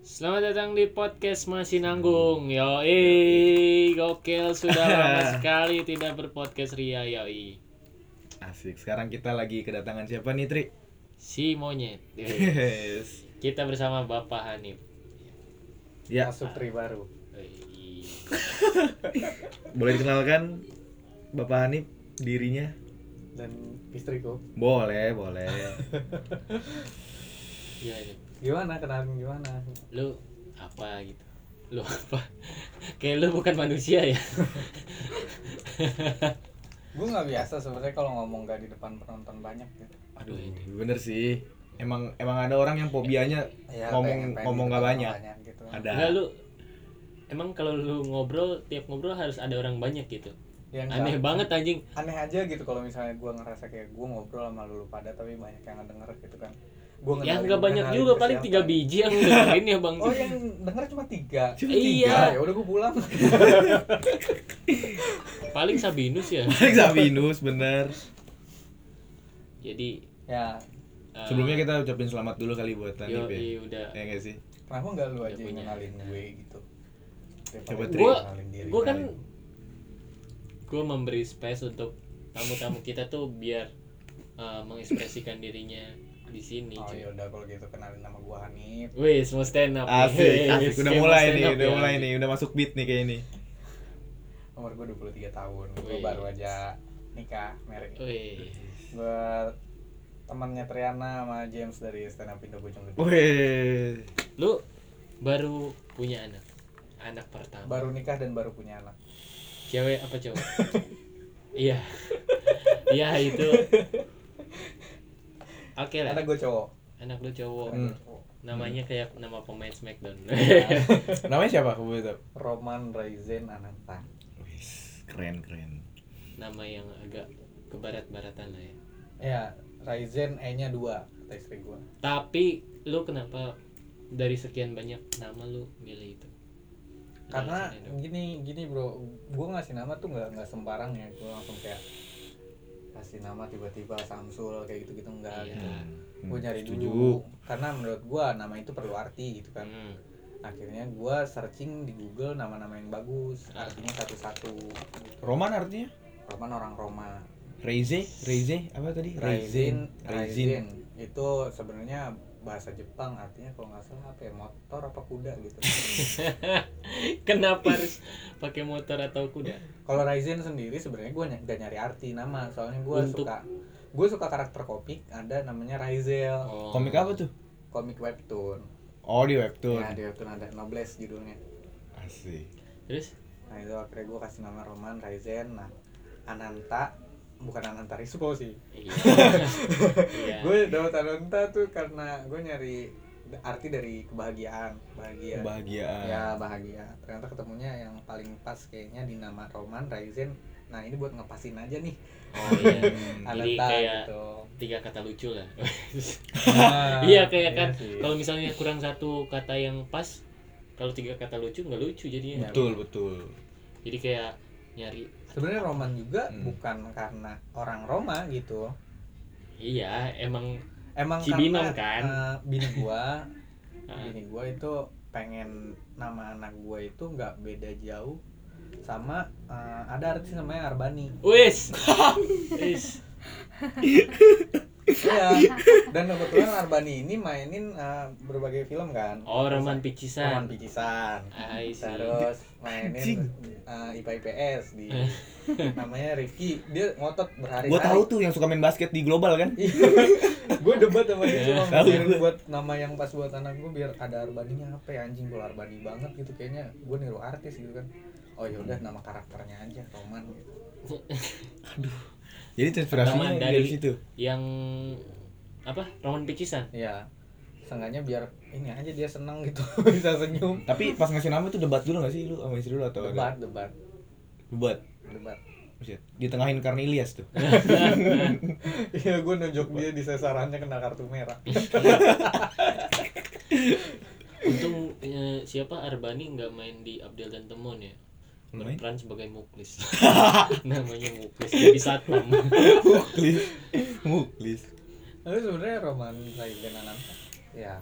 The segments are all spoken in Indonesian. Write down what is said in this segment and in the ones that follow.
Selamat datang di podcast Masih Nanggung. Yoi, gokil sudah lama sekali tidak berpodcast Ria yoi. Asik. Sekarang kita lagi kedatangan siapa nih, Tri? Si monyet. Yoi. Yes. Kita bersama Bapak Hanif. Ya, masuk tri baru Yoi. boleh dikenalkan Bapak Hanif dirinya? dan istriku Boleh, boleh. Gimana, Nip? gimana kenalin gimana Iya, Lu apa gitu? Lu apa? Kayak lu bukan manusia ya. gue nggak biasa sebenarnya kalau ngomong gak di depan penonton banyak gitu Aduh, bener sih. Emang emang ada orang yang fobianya Iya, ngomong ngomong Ya, di gak depan banyak. banyak gitu Enggak Ada. Iya, lu Emang kalau lu ngobrol, tiap ngobrol harus ada orang banyak gitu. Yang Aneh gak- banget anjing. aneh aja gitu kalau misalnya gue ngerasa kayak gue ngobrol sama lulu pada tapi banyak yang denger gitu kan gue Ya nggak banyak juga paling tiga biji yang lu dengerin ya Bang. ya? oh yang denger cuma tiga Cuma Iya. ya udah gue pulang Paling Sabinus ya. Paling Sabinus, bener. Nah. Jadi ya eh, Sebelumnya kita ucapin selamat dulu kali buat Hanif Yoi, ya. udah. Ya nggak sih? kenapa nggak lu aja Udah yang punya. kenalin gue gitu Coba, Tri. Gua- kenalin iya, diri. Gue kan gue memberi space untuk tamu-tamu kita tuh biar eh, mengekspresikan dirinya di sini. oh iya. cuy. ya udah kalau gitu kenalin nama gue Hanif Wes, mau stand up. Asik, Wes, asik. Udah kayak mau mulai stand nih, up udah ya. mulai nih, udah masuk beat nih kayak ini. Umur gue 23 tahun, gue Wih. baru aja nikah, married Wes. Gue temannya Triana sama James dari Stand Up Indo Bojong Gede. Wih. Lu baru punya anak. Anak pertama. Baru nikah dan baru punya anak. Cewek apa cowok? Iya. Iya itu. Oke lah. Anak gue cowok. Anak lu cowok. Iya. Anak gua Hmm. Iya. cowok. Namanya kayak nama pemain Smackdown. Namanya siapa? Kamu tahu? Roman Raizen Ananta. Wis, keren keren. nama yang agak ke barat-baratan lah ya. Ya, Raizen E-nya 2 kata istri gue. Tapi lu kenapa dari sekian banyak nama lu milih itu? Karena Alasannya dong. gini gini bro, gue ngasih nama tuh nggak nggak sembarang ya, gue langsung kayak kasih nama tiba-tiba Samsul kayak gitu-gitu enggak Iya. gitu. Hmm, Gue nyari setuju. dulu karena menurut gue nama itu perlu arti gitu kan. Hmm. akhirnya gua searching di Google nama-nama yang bagus Ah. artinya satu-satu Roman artinya? Roman orang Roma Reize, Reize apa tadi? Raisin Raisin. Raisin itu sebenarnya bahasa Jepang artinya kalau nggak salah apa ya, motor apa kuda gitu Kenapa harus pakai motor atau kuda? kalau Raisin sendiri sebenarnya gua ny- nggak nyari arti nama soalnya gua Untuk- suka gue suka karakter komik ada namanya Raizel Oh. Komik apa tuh? komik webtoon Oh di webtoon. ya di webtoon ada Nobles judulnya Asik. Terus nah itu akhirnya gua kasih nama Roman Raizen nah Ananta bukan Ananta Rispo sih iya. Iya. gue dapat talenta tuh karena gue nyari d- arti dari kebahagiaan bahagia Kebahagiaan. ya bahagia ternyata ketemunya yang paling pas kayaknya di nama Roman Raizen nah ini buat ngepasin aja nih Oh iya. Hmm. Jadi talenta kayak gitu tiga kata lucu lah. Nah, iya kayak kan sih. kalau misalnya kurang satu kata yang pas kalau tiga kata lucu nggak lucu jadinya. Iya. Betul betul. Jadi kayak nyari sebenarnya Roman juga Hmm. bukan karena orang Roma gitu iya emang emang Cibinong karena kan? eh, bini gua Ah. bini gua itu pengen nama anak gua itu nggak beda jauh sama eh, ada artis namanya Arbani Wis. Wis. Iya. Dan kebetulan Arbani ini mainin eh, berbagai film kan. Oh, Roman Roman Picisan. Picisan. I see. Terus Anjing. mainin eh, IPA IPS di Eh. namanya Rifki. Dia ngotot berhari-hari. Gua tahu tuh yang suka main basket di global kan? gue debat sama dia cuma Eh, Tahu mikirin gua. buat nama yang pas buat anak gue biar ada Arbaninya apa ya anjing kalau Arbani banget gitu kayaknya gue niru artis gitu kan. Oh ya udah nama karakternya aja Roman gitu. Jadi inspirasinya Pertama dari, dari- situ. yang apa Roman Picisan Iya. Sengaja biar ini aja dia seneng gitu bisa senyum. Tapi pas ngasih nama tuh debat dulu gak sih lu sama istri lu atau ada- Debat, debat, Debat. debat. Buset, Ditengahin Cornelius tuh. Iya, gue nunjuk dia di sesarannya kena kartu merah. untung eh, siapa Arbani nggak main di Abdel dan Temon ya Main? berperan sebagai muklis namanya muklis jadi satpam Muklis. Muklis. Tapi sebenarnya Roman Raizen Ananta ya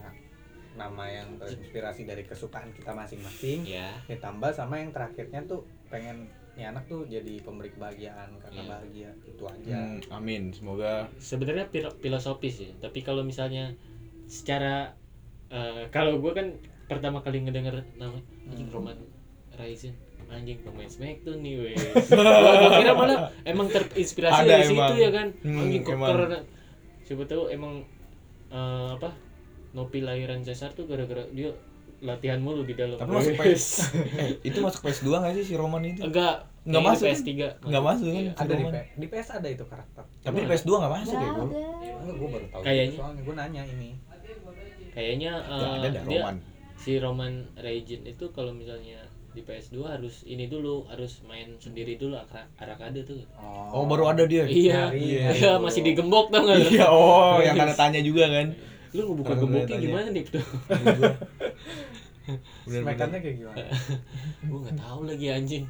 nama yang terinspirasi dari kesukaan kita masing-masing ya ditambah sama yang terakhirnya tuh pengen nih anak tuh jadi pemberi kebahagiaan karena Iya. bahagia itu aja Hmm, amin. Semoga sebenarnya fil- filosofis ya tapi kalau misalnya secara eh, kalau gue kan pertama kali ngedenger nama anjing Hmm. Iya, Roman Raisin anjing pemain Smackdown nih weh Gua- gua kira malah emang terinspirasi Ada dari emang. situ ya kan Hmm, anjing kok emang. keren. siapa tahu emang eh, apa Nopi lahiran Cesar tuh gara-gara dia latihan mulu di dalam Tapi masuk Wes. eh, itu masuk PS2 gak sih si Roman itu? enggak Nggak ini masuk kan? PS3 Nggak masuk kan? Iya. ada di, Roman. P- di PS ada itu karakter Tapi di PS2 gak masuk ya, Bro? Enggak, gue baru tahu Kayaknya. gitu soalnya gue nanya ini kayaknya Gak eh, Ya, ada dah dia Roman. si Roman Reign itu kalau misalnya di PS2 harus ini dulu harus main sendiri dulu akra- arcade tuh Oh, baru ada dia. iya nyari, iya nyari dulu. masih digembok tau nggak lu? Iya, oh, yang ada tanya juga kan. lu ngebuka Karena gemboknya tanya. gimana nih tuh Smackdown-nya kayak gimana gua nggak tahu lagi anjing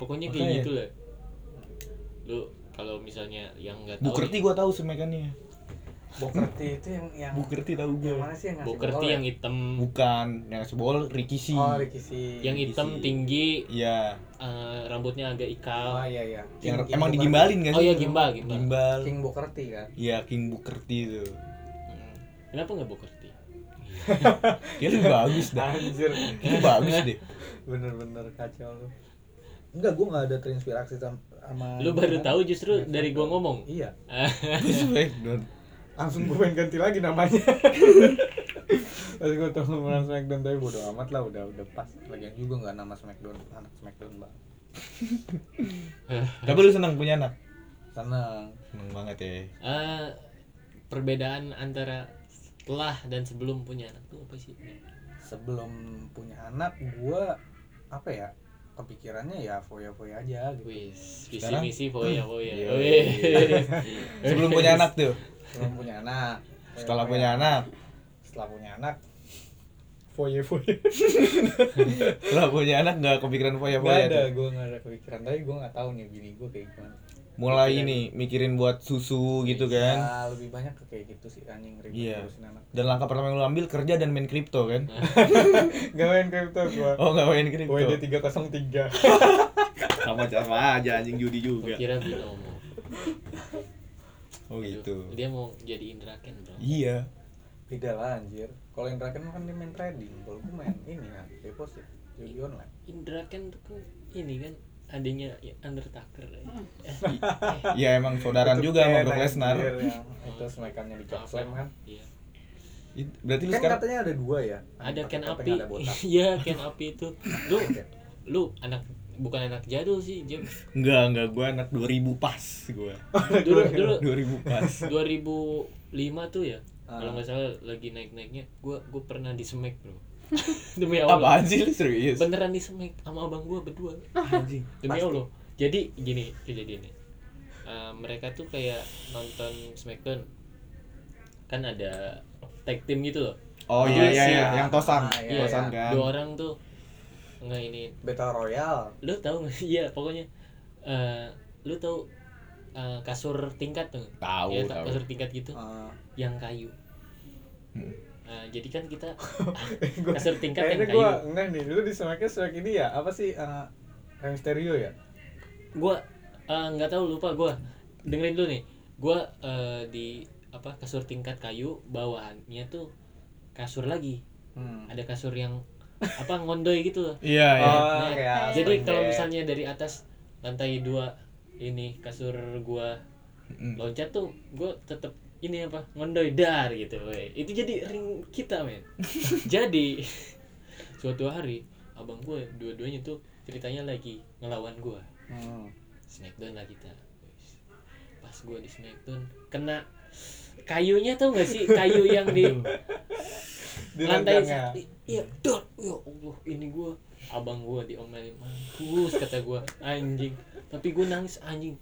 pokoknya kayak Makanya. gitu lah lu kalau misalnya yang nggak tahu Bukerti gua tahu semekannya. Bukerti itu yang yang Bukerti tahu yang gua. mana sih yang ngasih Bukerti bola ya? yang hitam Bukan yang sebol Rikishi. oh Rikishi yang hitam Isi. tinggi Iya, eh, rambutnya agak oh ikal iya iya yang King- emang King digimbalin gak oh sih? ya gimbal iya. Gimbal. gimbal Gimbal. Bukerti. King Bukerti kan Iya, King Bukerti itu. Hmm. kenapa nggak Bukerti Dia lebih bagus dah. anjir Itu bagus deh. bener-bener kacau lu enggak gue nggak ada terinspirasi sama, Ah, sama lu baru iya. gimana? tahu justru dari gua ngomong iya Smackdown. langsung gue pengen ganti lagi namanya Terus gue tau nama Smackdown tapi bodo amat lah udah udah pas Lagian juga nggak nama Smackdown anak Smackdown bang Tapi lu senang punya anak? seneng Seneng banget ya. Eh, perbedaan antara setelah dan sebelum punya anak tuh apa sih? sebelum punya anak gue apa ya kepikirannya ya foya-foya aja gitu Wis, visi Sekarang? misi foya foya. Iya. Wih. Sebelum punya anak tuh. sebelum punya anak Setelah foya-foya. punya anak, setelah punya anak foya-foya setelah punya anak nggak kepikiran nggak foya-foya ada tuh. gue nggak ada kepikiran tapi gue nggak tahu nih bini gue kayak gimana Mulai ini mikirin buat susu gitu kan. Ya, lebih banyak ke kayak gitu sih anjing ribet Iya. ngurusin anak Dan langkah pertama yang lu ambil kerja dan main kripto kan? gak main kripto gue Oh nggak main kripto. WD 303 Sama sama aja anjing judi Gua juga. kira binomo. Oh gitu. Dia mau jadi Indra Ken, Bro. Iya. Tidak lah anjir Kalau yang terakhir mah kan dia main trading Kalau gue main ini ya, deposit Judi online Indra Ken tuh kan ini kan adanya Undertaker. Eh, Iya emang saudaran Itu juga sama Ken, Brock Lesnar. anjir, yang Itu semakannya di maaf, Chokeslam kan Iya. It- Berarti lu Kan sekarang katanya ada dua ya Ada Ken Tapi Api. nggak ada botak Iya, Ken Api itu. Lu lu anak bukan anak jadul sih, Jim. enggak enggak gua anak 2000 pas gua. Dulu dulu 2000 pas. 2005 tuh ya Ah. kalau nggak salah lagi naik naiknya gue gue pernah di semek bro demi Iya, allah Apaan sih lu serius? beneran di semek sama abang gue berdua Anjing. demi allah jadi gini kejadiannya Eh, mereka tuh kayak nonton Smackdown kan ada tag team gitu loh Oh iya iya iya yang tosan. Ah, iya, tosan iya. kan. dua orang tuh nggak ini Battle Royale lu tahu nggak iya pokoknya eh lu tahu eh, kasur tingkat tuh Tahu ya, tahu. Oh. kasur tingkat gitu Ah. yang kayu Hmm. Nah, jadi kan kita Eh, Gua- kasur tingkat yang kan Kayaknya kayu. gue enggak nih Dulu di semakin semak ini ya Apa sih eh, Rey Mysterio ya Gua eh, nggak tahu lupa gua. Dengerin dulu nih. Gua eh, di apa kasur tingkat kayu bawahannya tuh kasur lagi. Hmm. Ada kasur yang apa ngondoy gitu loh. Iya iya. Oh, Nah, kayak jadi kalau spring bed. misalnya dari atas lantai dua ini kasur gua Mm. loncat tuh gua tetep ini apa ngondoy dar gitu weh. itu jadi ring kita men jadi suatu hari abang gue dua-duanya tuh ceritanya lagi ngelawan gua Hmm. Smackdown lah kita pas gua di Smackdown kena kayunya tuh gak sih kayu yang di Di lantai ranjangnya. i- iya dor ya Allah ini gua abang gua diomelin mampus kata gua anjing tapi gua nangis anjing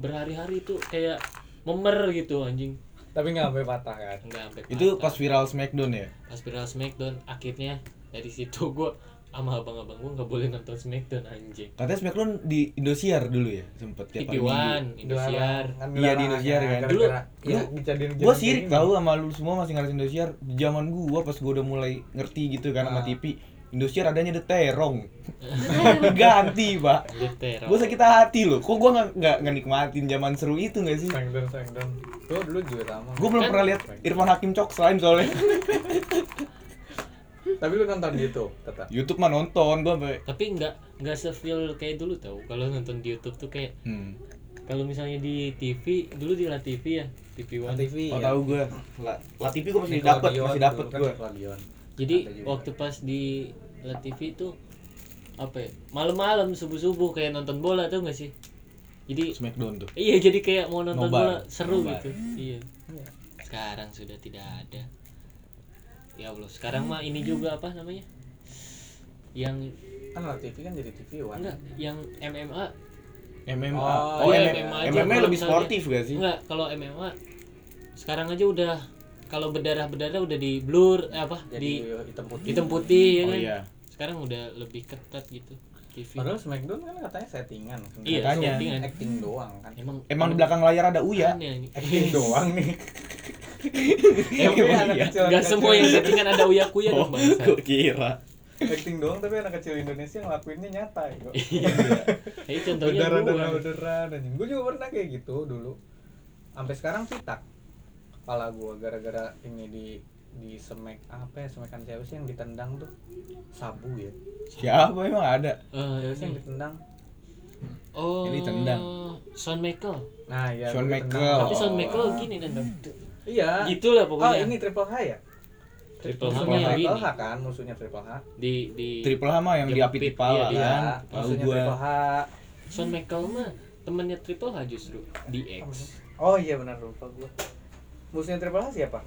berhari-hari itu kayak memer gitu anjing Tapi nggak sampai patah kan enggak sampai Itu patah. pas viral Smackdown ya? pas viral Smackdown akhirnya dari situ gua sama abang-abang gue nggak boleh nonton Smackdown anjing Katanya Smackdown di Indosiar dulu ya, sempet TV tiap hari Minggu. One Indosiar Iya, di Indosiar kan. Dulu- ya, dulu- Gua sirik tahu sama lu semua masih ngerti Indosiar. Zaman gua pas gua udah mulai ngerti gitu kan sama Ah. TV. Indosiar adanya The Terong. Ganti, Pak. Anjir teror Gue sakit hati loh. Kok gua nggak nggak nggak nikmatin zaman seru itu nggak sih? Sangdon, sangdon. Gua dulu juga sama. Gue belum Kan- pernah lihat Irfan Hakim cok slime soalnya. Tapi lu nonton di YouTube, tetap. YouTube mah nonton gua sampai tapi nggak nggak sefeel kayak dulu tau kalau nonton di YouTube tuh kayak hmm. kalau misalnya di TV dulu di La TV ya TV One TV. Oh tahu gua. La, La TV gua masih dapat, masih dapat kan gua. Jadi Ada juga. waktu pas di La TV itu apa ya? Malam-malam subuh-subuh kayak nonton bola tuh gak sih? Jadi Smackdown tuh. iya jadi kayak mau nonton Nobar. bola seru Nobar. gitu. Iya. Sekarang sudah tidak ada. Ya Allah, sekarang mah ini juga apa namanya? Yang Kan lah TV kan jadi TV One. enggak yang MMA MMA. Oh, Oh, iya, MMA, MMA aja. MMA lebih Kalau sportif gak sih? enggak kalau MMA sekarang aja udah kalau berdarah-berdarah udah di blur eh, apa Jadi di hitam putih. hitam putih ya Oh kan? iya. Sekarang udah lebih ketat gitu. TV. Padahal Smackdown kan katanya settingan. Kan Iya, Makanya. settingan. Acting doang kan. Emang Emang di belakang iya. layar ada Uya. Aneh ini. Acting doang nih. Emang Iya. anak kecil. Gak anak semua yang kecil. settingan ada uya kuya Oh, dong bangsa. gua kira. acting doang tapi anak kecil Indonesia ngelakuinnya nyata ya. Iya. Ini contohnya beneran dan gua. beneran anjing gue juga pernah kayak gitu dulu sampai sekarang pitak kepala gue gara-gara ini di di semek apa ya semekan cewek sih yang ditendang tuh sabu ya Siapa emang ada? Eh, cewek sih ini. yang ditendang Oh. Ini tendang. Shawn Michael. nah ya Shawn gua Michael. ditendang. Tapi Shawn Oh. Michael gini tendang. iya Gitulah oh pokoknya. ini triple H ya Triple H musuhnya yang triple gini. H kan musuhnya triple H Iya, Di di Triple H mah yang Yang diapit pit, kepala iya, kan. iya Tahu musuhnya gua. triple H Shawn Michael mah temannya Triple H justru DX. oh iya benar lupa gue musuhnya triple H siapa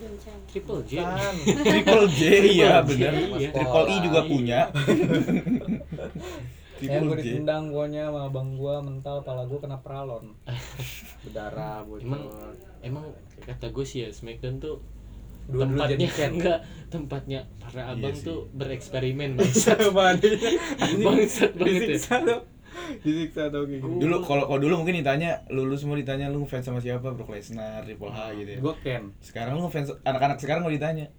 Bencana. Triple J. Ah. kan Triple J ya J, bener. iya. Triple I juga punya. Ya Triple gue J. ditendang guanya sama abang gua mental pala gua kena pralon. Berdarah bocor. Emang emang kata gue sih ya SmackDown tuh Dulu- dulu tempatnya jadi camp. enggak tempatnya para abang Iya sih. tuh bereksperimen bangsat Mandi. bangsat banget ya. Disiksa dong. Disiksa dong kayak gitu. Dulu kalau kalau dulu mungkin ditanya lu, lu semua ditanya lu fans sama siapa? Brock Lesnar, Triple H gitu ya. Gua Ken. Sekarang lu fans anak-anak sekarang mau ditanya.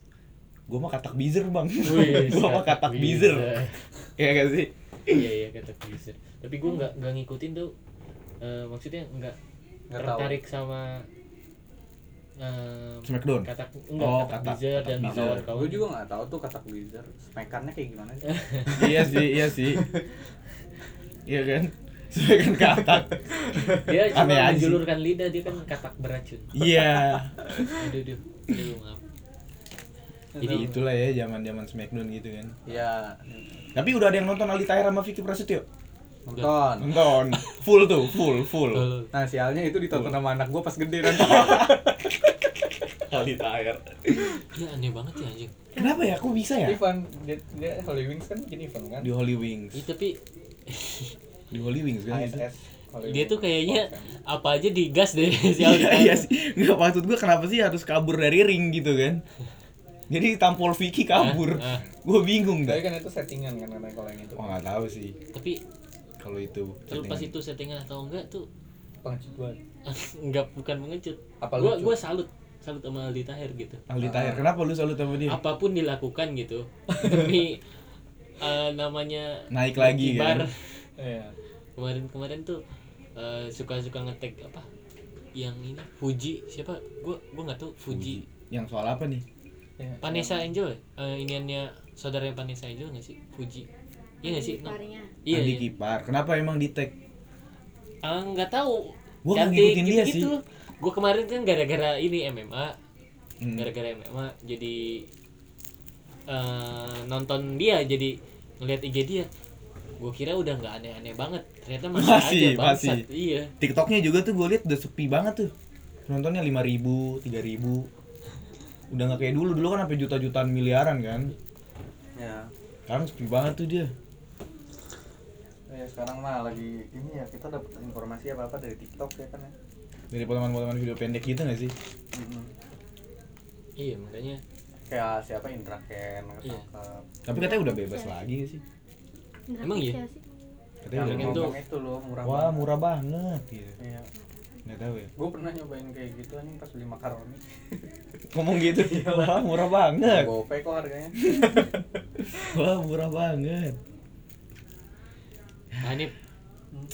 Gua mah katak bizer, Bang. Wih, Gua mah katak bizer. Iya gak sih? iya iya kata user tapi gue nggak nggak ngikutin tuh eh, maksudnya nggak Nggak tahu. tertarik sama eh, Smackdown. kata enggak Oh, kata katak- user katak dan user. kawan-kawan Gua juga nggak tahu tuh katak blizzard Smekannya kayak gimana sih? iya sih, iya sih. Iya kan? Saya kan katak. dia Iya, cuma Aneh aja sih. menjulurkan lidah dia kan katak beracun Iya. aduh aduh aduh maaf Jadi itulah ya zaman-zaman Smackdown gitu kan. ya Tapi udah ada yang nonton Aldi Taher sama Vicky Prasetyo? Ah. nonton. Nonton. Full tuh, full, full. Nah sialnya itu ditonton sama anak gua pas gede nanti. Aldi Taher. iya aneh banget ya anjing Kenapa ya? Kok bisa ya? Ivan dia, dia Holy Wings kan bikin event Iya. kan? Di Holy Wings. Ih, tapi Di Holy Wings kan itu. ISS. Holy dia Wings. tuh kayaknya apa aja digas deh si Aldi Iya, Taher. iya sih. Enggak maksud gua kenapa sih harus kabur dari ring gitu kan? Jadi tampol Vicky kabur. Ah, ah. Gua bingung dah. Tapi kan itu settingan kan katanya kalau yang itu. Gua nggak tahu sih tapi kalau itu. terlepas itu settingan atau enggak tuh Pengecualian. enggak bukan mengecut Apa gua lucu? gua salut salut sama Aldi Taher gitu Aldi Taher, kenapa lu selalu sama dia? apapun dilakukan gitu demi eh, namanya Naik lagi kibar. kan? Iya. kemarin-kemarin tuh eh, suka-suka ngetek apa yang ini Fuji siapa gua gua nggak tahu Fuji, Yang soal apa nih? Iya. Vanessa Angel eh, iniannya saudaranya Vanessa Angel nggak sih Fuji iya nggak sih No. Parnya. iya Aldi iya. Kipar. Kenapa emang di tag? Ah, nggak tahu Gua nggak Cantik, ngikutin dia gitu-gitu. gua kemarin kan gara-gara ini MMA Hmm. gara-gara MMA jadi eh, nonton dia jadi ngeliat IG dia gue kira udah nggak aneh-aneh banget ternyata masih, Masih, aja bangsat. masih. iya TikToknya juga tuh gue liat udah sepi banget tuh Nontonnya 5 ribu, 3 ribu Udah gak kayak dulu, dulu kan sampai juta-jutaan miliaran kan Ya. Sekarang sepi banget tuh dia Ya sekarang mah lagi ini ya kita dapat informasi apa apa dari TikTok ya kan ya. Dari potongan-potongan video pendek gitu gak sih? iya makanya kayak siapa Indra Ken Iya. ketangkap Tapi katanya udah bebas lagi sih. Indra Emang iya? Kents siapa sih? Katanya udah Yang bebas. itu- ngomong itu loh murah Wah, banget. murah banget gitu. iya Enggak tahu ya. gue pernah nyobain kayak gitu anjing pas beli makaroni Ngomong gitu. Wah, murah banget. gope kok harganya Wah, murah banget. Nah, ini Hmm.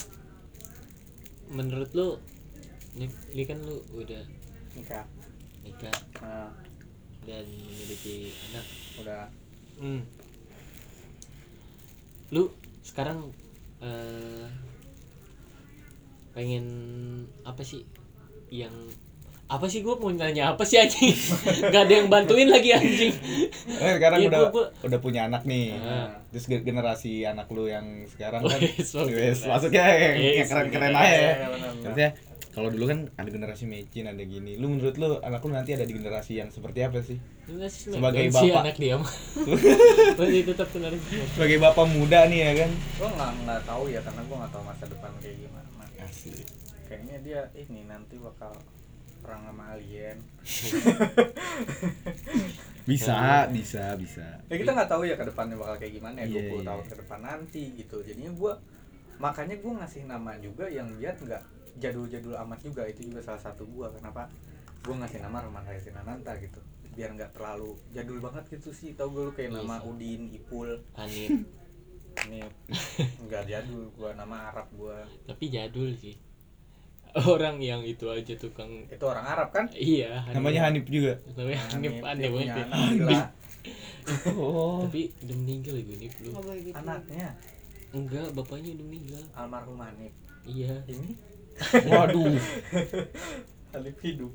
menurut lu ini, ini kan lu udah nikah nikah Iya. nah dan memiliki anak. udah Hmm. Lu sekarang eh, pengen apa sih yang apa sih gue mau nanya apa sih anjing nggak ada yang bantuin lagi anjing Eh, sekarang Iya, udah gua- gua- udah punya anak Ah. nih. Oh, iya, Terus ge- generasi anak lu yang sekarang kan Wes, maksudnya. wes, maksudnya yang, yang Yes, keren-keren bener. aja. ya. Iya, bener-bener. Maksudnya kalau dulu kan ada generasi mecin, ada gini. Lu menurut lu anak lu nanti ada di generasi yang seperti apa sih? Enggak sih, Sebagai sebenarnya si bapak. anak dia mah masih tetap kenalin Sebagai bapak muda nih ya kan. gue nggak nggak tahu ya karena gue nggak tahu masa depan kayak gimana Asik. kayaknya dia ini nanti bakal perang sama alien Iya, Bisa, bisa, bisa. ya kita nggak tahu ya ke depannya bakal kayak gimana ya Iya, 20 iya. tahun ke depan nanti gitu jadinya gue makanya gue ngasih nama juga yang biar nggak jadul-jadul amat juga itu juga salah satu gue kenapa gue ngasih nama Roman Sinananta gitu biar nggak terlalu jadul banget gitu sih tau gue lu kayak Iya nama sih. Udin Ipul Anit ini nggak jadul gue nama Arab gue tapi jadul sih orang yang itu aja tukang itu orang Arab kan Nah, iya Hanif. Namanya Hanif juga. namanya Iya, Hanif Hanif, aneh dia punya banget ya. anak, gila. Oh. tapi udah meninggal ya gue lu Nggak boleh gitu. anaknya enggak bapaknya udah meninggal almarhum Hanif iya ini Waduh. Hanif hidup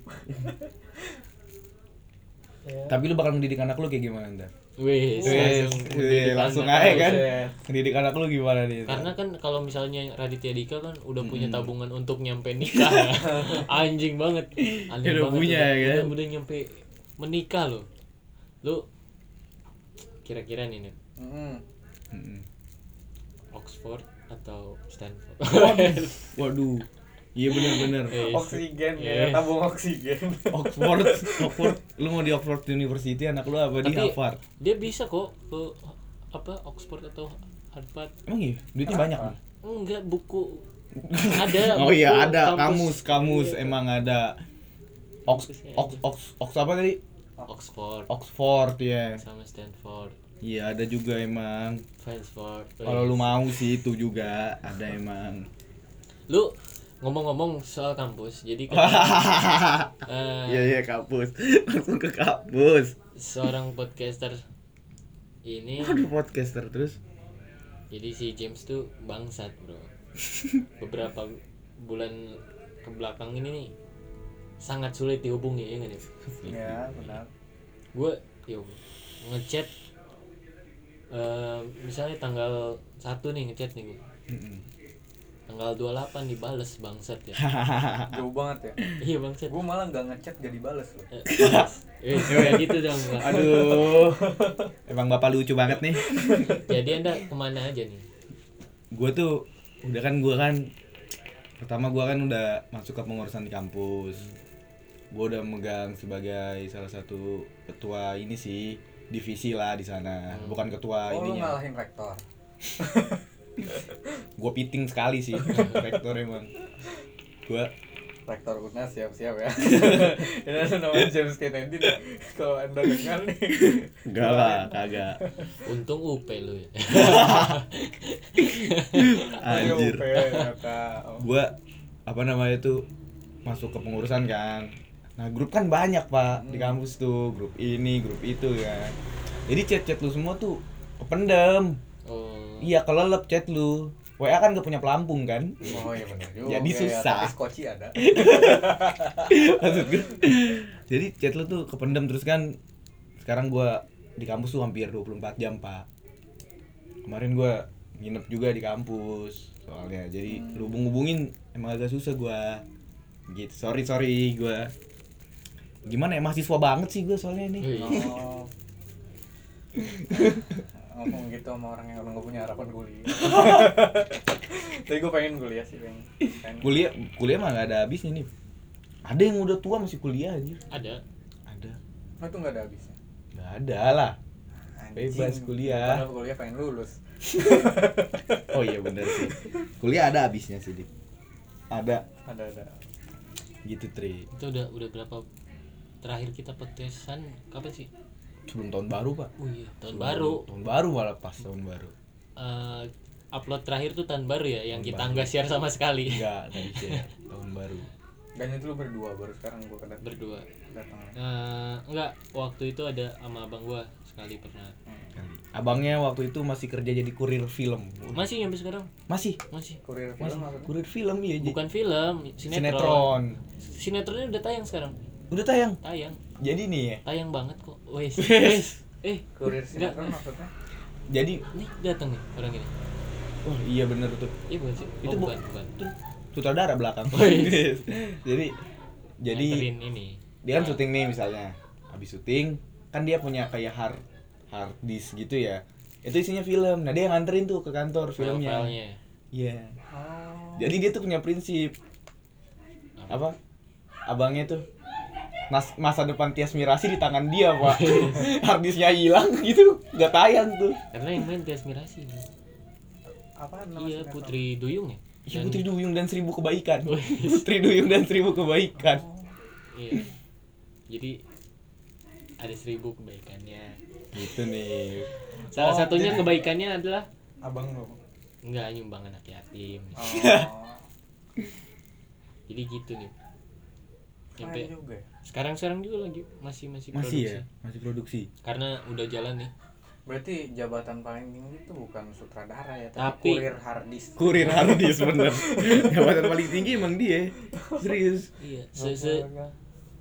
Tapi lu bakal mendidik anak lu kayak gimana ntar? wes Wes, wih, mendidik langsung anak. aja kan. Buset. Mendidik anak lu gimana nih? Ntar? iya. karena kan kalau misalnya Raditya Dika kan udah punya tabungan untuk nyampe nikah ya. anjing banget aneh Dia udah banget punya, udah, ya kan? udah, udah nyampe menikah loh lu kira-kira nih Nip, Mm-mm. Mm-mm. Oxford atau Stanford Waduh. Iya bener-bener. Yes. oksigen Yes. ya tabung oksigen Oxford, Oxford. Lu mau di Oxford University anak lu apa di Tapi- Harvard? dia bisa kok ke apa Oxford atau Harvard Emang iya, duitnya banyak kan? enggak buku ada Oh iya buku ada kamus, kampus. kamus Iya. emang ada Ox, Ox, Ox, Ox apa tadi? Oxford Oxford ya. sama Stanford Iya ada juga emang. Frankfurt Kalau lu mau sih itu juga ada emang. lu ngomong-ngomong soal kampus jadi kan eh, Iya iya kapus, langsung ke kapus. seorang podcaster ini Aduh podcaster terus. jadi si James tuh bangsat bro beberapa bulan kebelakang ini nih sangat sulit dihubungi ya nggak Iya. ya benar gue yuk ngechat eh, misalnya tanggal 1 nih ngechat nih gue tanggal 28 dibales bangsat ya Ah, jauh banget ya iya bangsat gue malah nggak ngechat gak dibales loh Eh, bangsat. Eh, kayak gitu dong Bang. Aduh. Emang bapak lucu banget nih. jadi anda kemana aja nih gue tuh udah kan gue kan pertama gue kan udah masuk ke pengurusan di kampus gue udah megang sebagai salah satu ketua ini sih divisi lah di sana bukan ketua oh lu Ah, ininya ngalahin rektor gue piting sekali sih rektor emang gue rektor unas siap-siap ya ini ada namanya James Kennedy nih. kalau anda dengar nih enggak lah kagak untung UP lu ya anjir Oke, kata oh. gue apa namanya tuh masuk ke pengurusan kan nah grup kan banyak pak di Hmm. kampus tuh grup ini grup itu kan jadi chat-chat lu semua tuh kependem oh iya kelelep chat lu WA kan gak punya pelampung kan Oh iya benar juga. Jadi ya, susah. tapi skoci ada. Maksud gue, jadi chat lu tuh kependem terus kan sekarang gua di kampus tuh hampir 24 jam pak kemarin gua nginep juga di kampus soalnya jadi hubung hubungin emang agak susah gua gitu sorry sorry gua gimana ya mahasiswa banget sih gua soalnya ini Wih. Oh. ngomong gitu sama orang yang emang gak punya harapan kuliah. Tapi gue pengen kuliah sih pengen. pengen. kuliah kuliah mah gak ada habisnya nih ada yang udah tua masih kuliah aja ada ada Oh, itu nggak ada habisnya. nggak ada lah bebas kuliah Padahal kuliah pengen lulus. oh iya bener sih kuliah ada habisnya sih Dik. ada Ada ada. gitu tri itu udah udah berapa terakhir kita petesan kapan sih sebelum tahun baru pak oh iya tahun Sebelum baru tahun baru malah pas tahun baru Eh, upload terakhir tuh tahun baru ya yang Tahun kita baru. Iya. nggak share sama sekali enggak dari tahun baru Dan itu lu berdua baru sekarang gua kedat- berdua datang. Eh, enggak waktu itu ada sama abang gua sekali pernah Hmm. kali abangnya waktu itu masih kerja jadi kurir film masih nyampe sekarang masih masih Kurir masih film maksudnya. kurir film ya jadi bukan film sinetron sinetron sinetronnya udah tayang sekarang udah tayang tayang jadi nih ya tayang banget kok wes wes eh Kurir Enggak. sinetron maksudnya. jadi nih datang nih orang ini oh iya bener tuh iya bukan sih oh, Itu bu- bukan bukan sutradara belakang iya. jadi jadi Nganterin ini dia kan syuting nih misalnya habis syuting kan dia punya kayak hard hard disk gitu ya itu isinya film nah dia yang nganterin tuh ke kantor filmnya Oh, filmnya iya Oh. jadi dia tuh punya prinsip apa abangnya tuh mas- masa depan Tias Mirasi di tangan dia pak harddisknya hilang gitu nggak tayang tuh karena yang main Tias Mirasi Apa nama iya sinetron? Putri Duyung ya Ih, Dan- Oh, Putri Duyung dan Seribu Kebaikan Putri Duyung dan Seribu Kebaikan Oh. iya jadi ada seribu kebaikannya gitu nih salah Oh, satunya jadi- kebaikannya adalah Abang lu. nggak nyumbang anak yatim Oh. jadi gitu nih Keren Nyampe- juga ya. sekarang sekarang juga lagi masih masih, masih produksi ya masih produksi karena udah jalan nih Berarti jabatan paling tinggi itu bukan sutradara ya, Tapi- tapi, kurir harddisk. kurir harddisk bener jabatan paling tinggi emang dia serius iya se se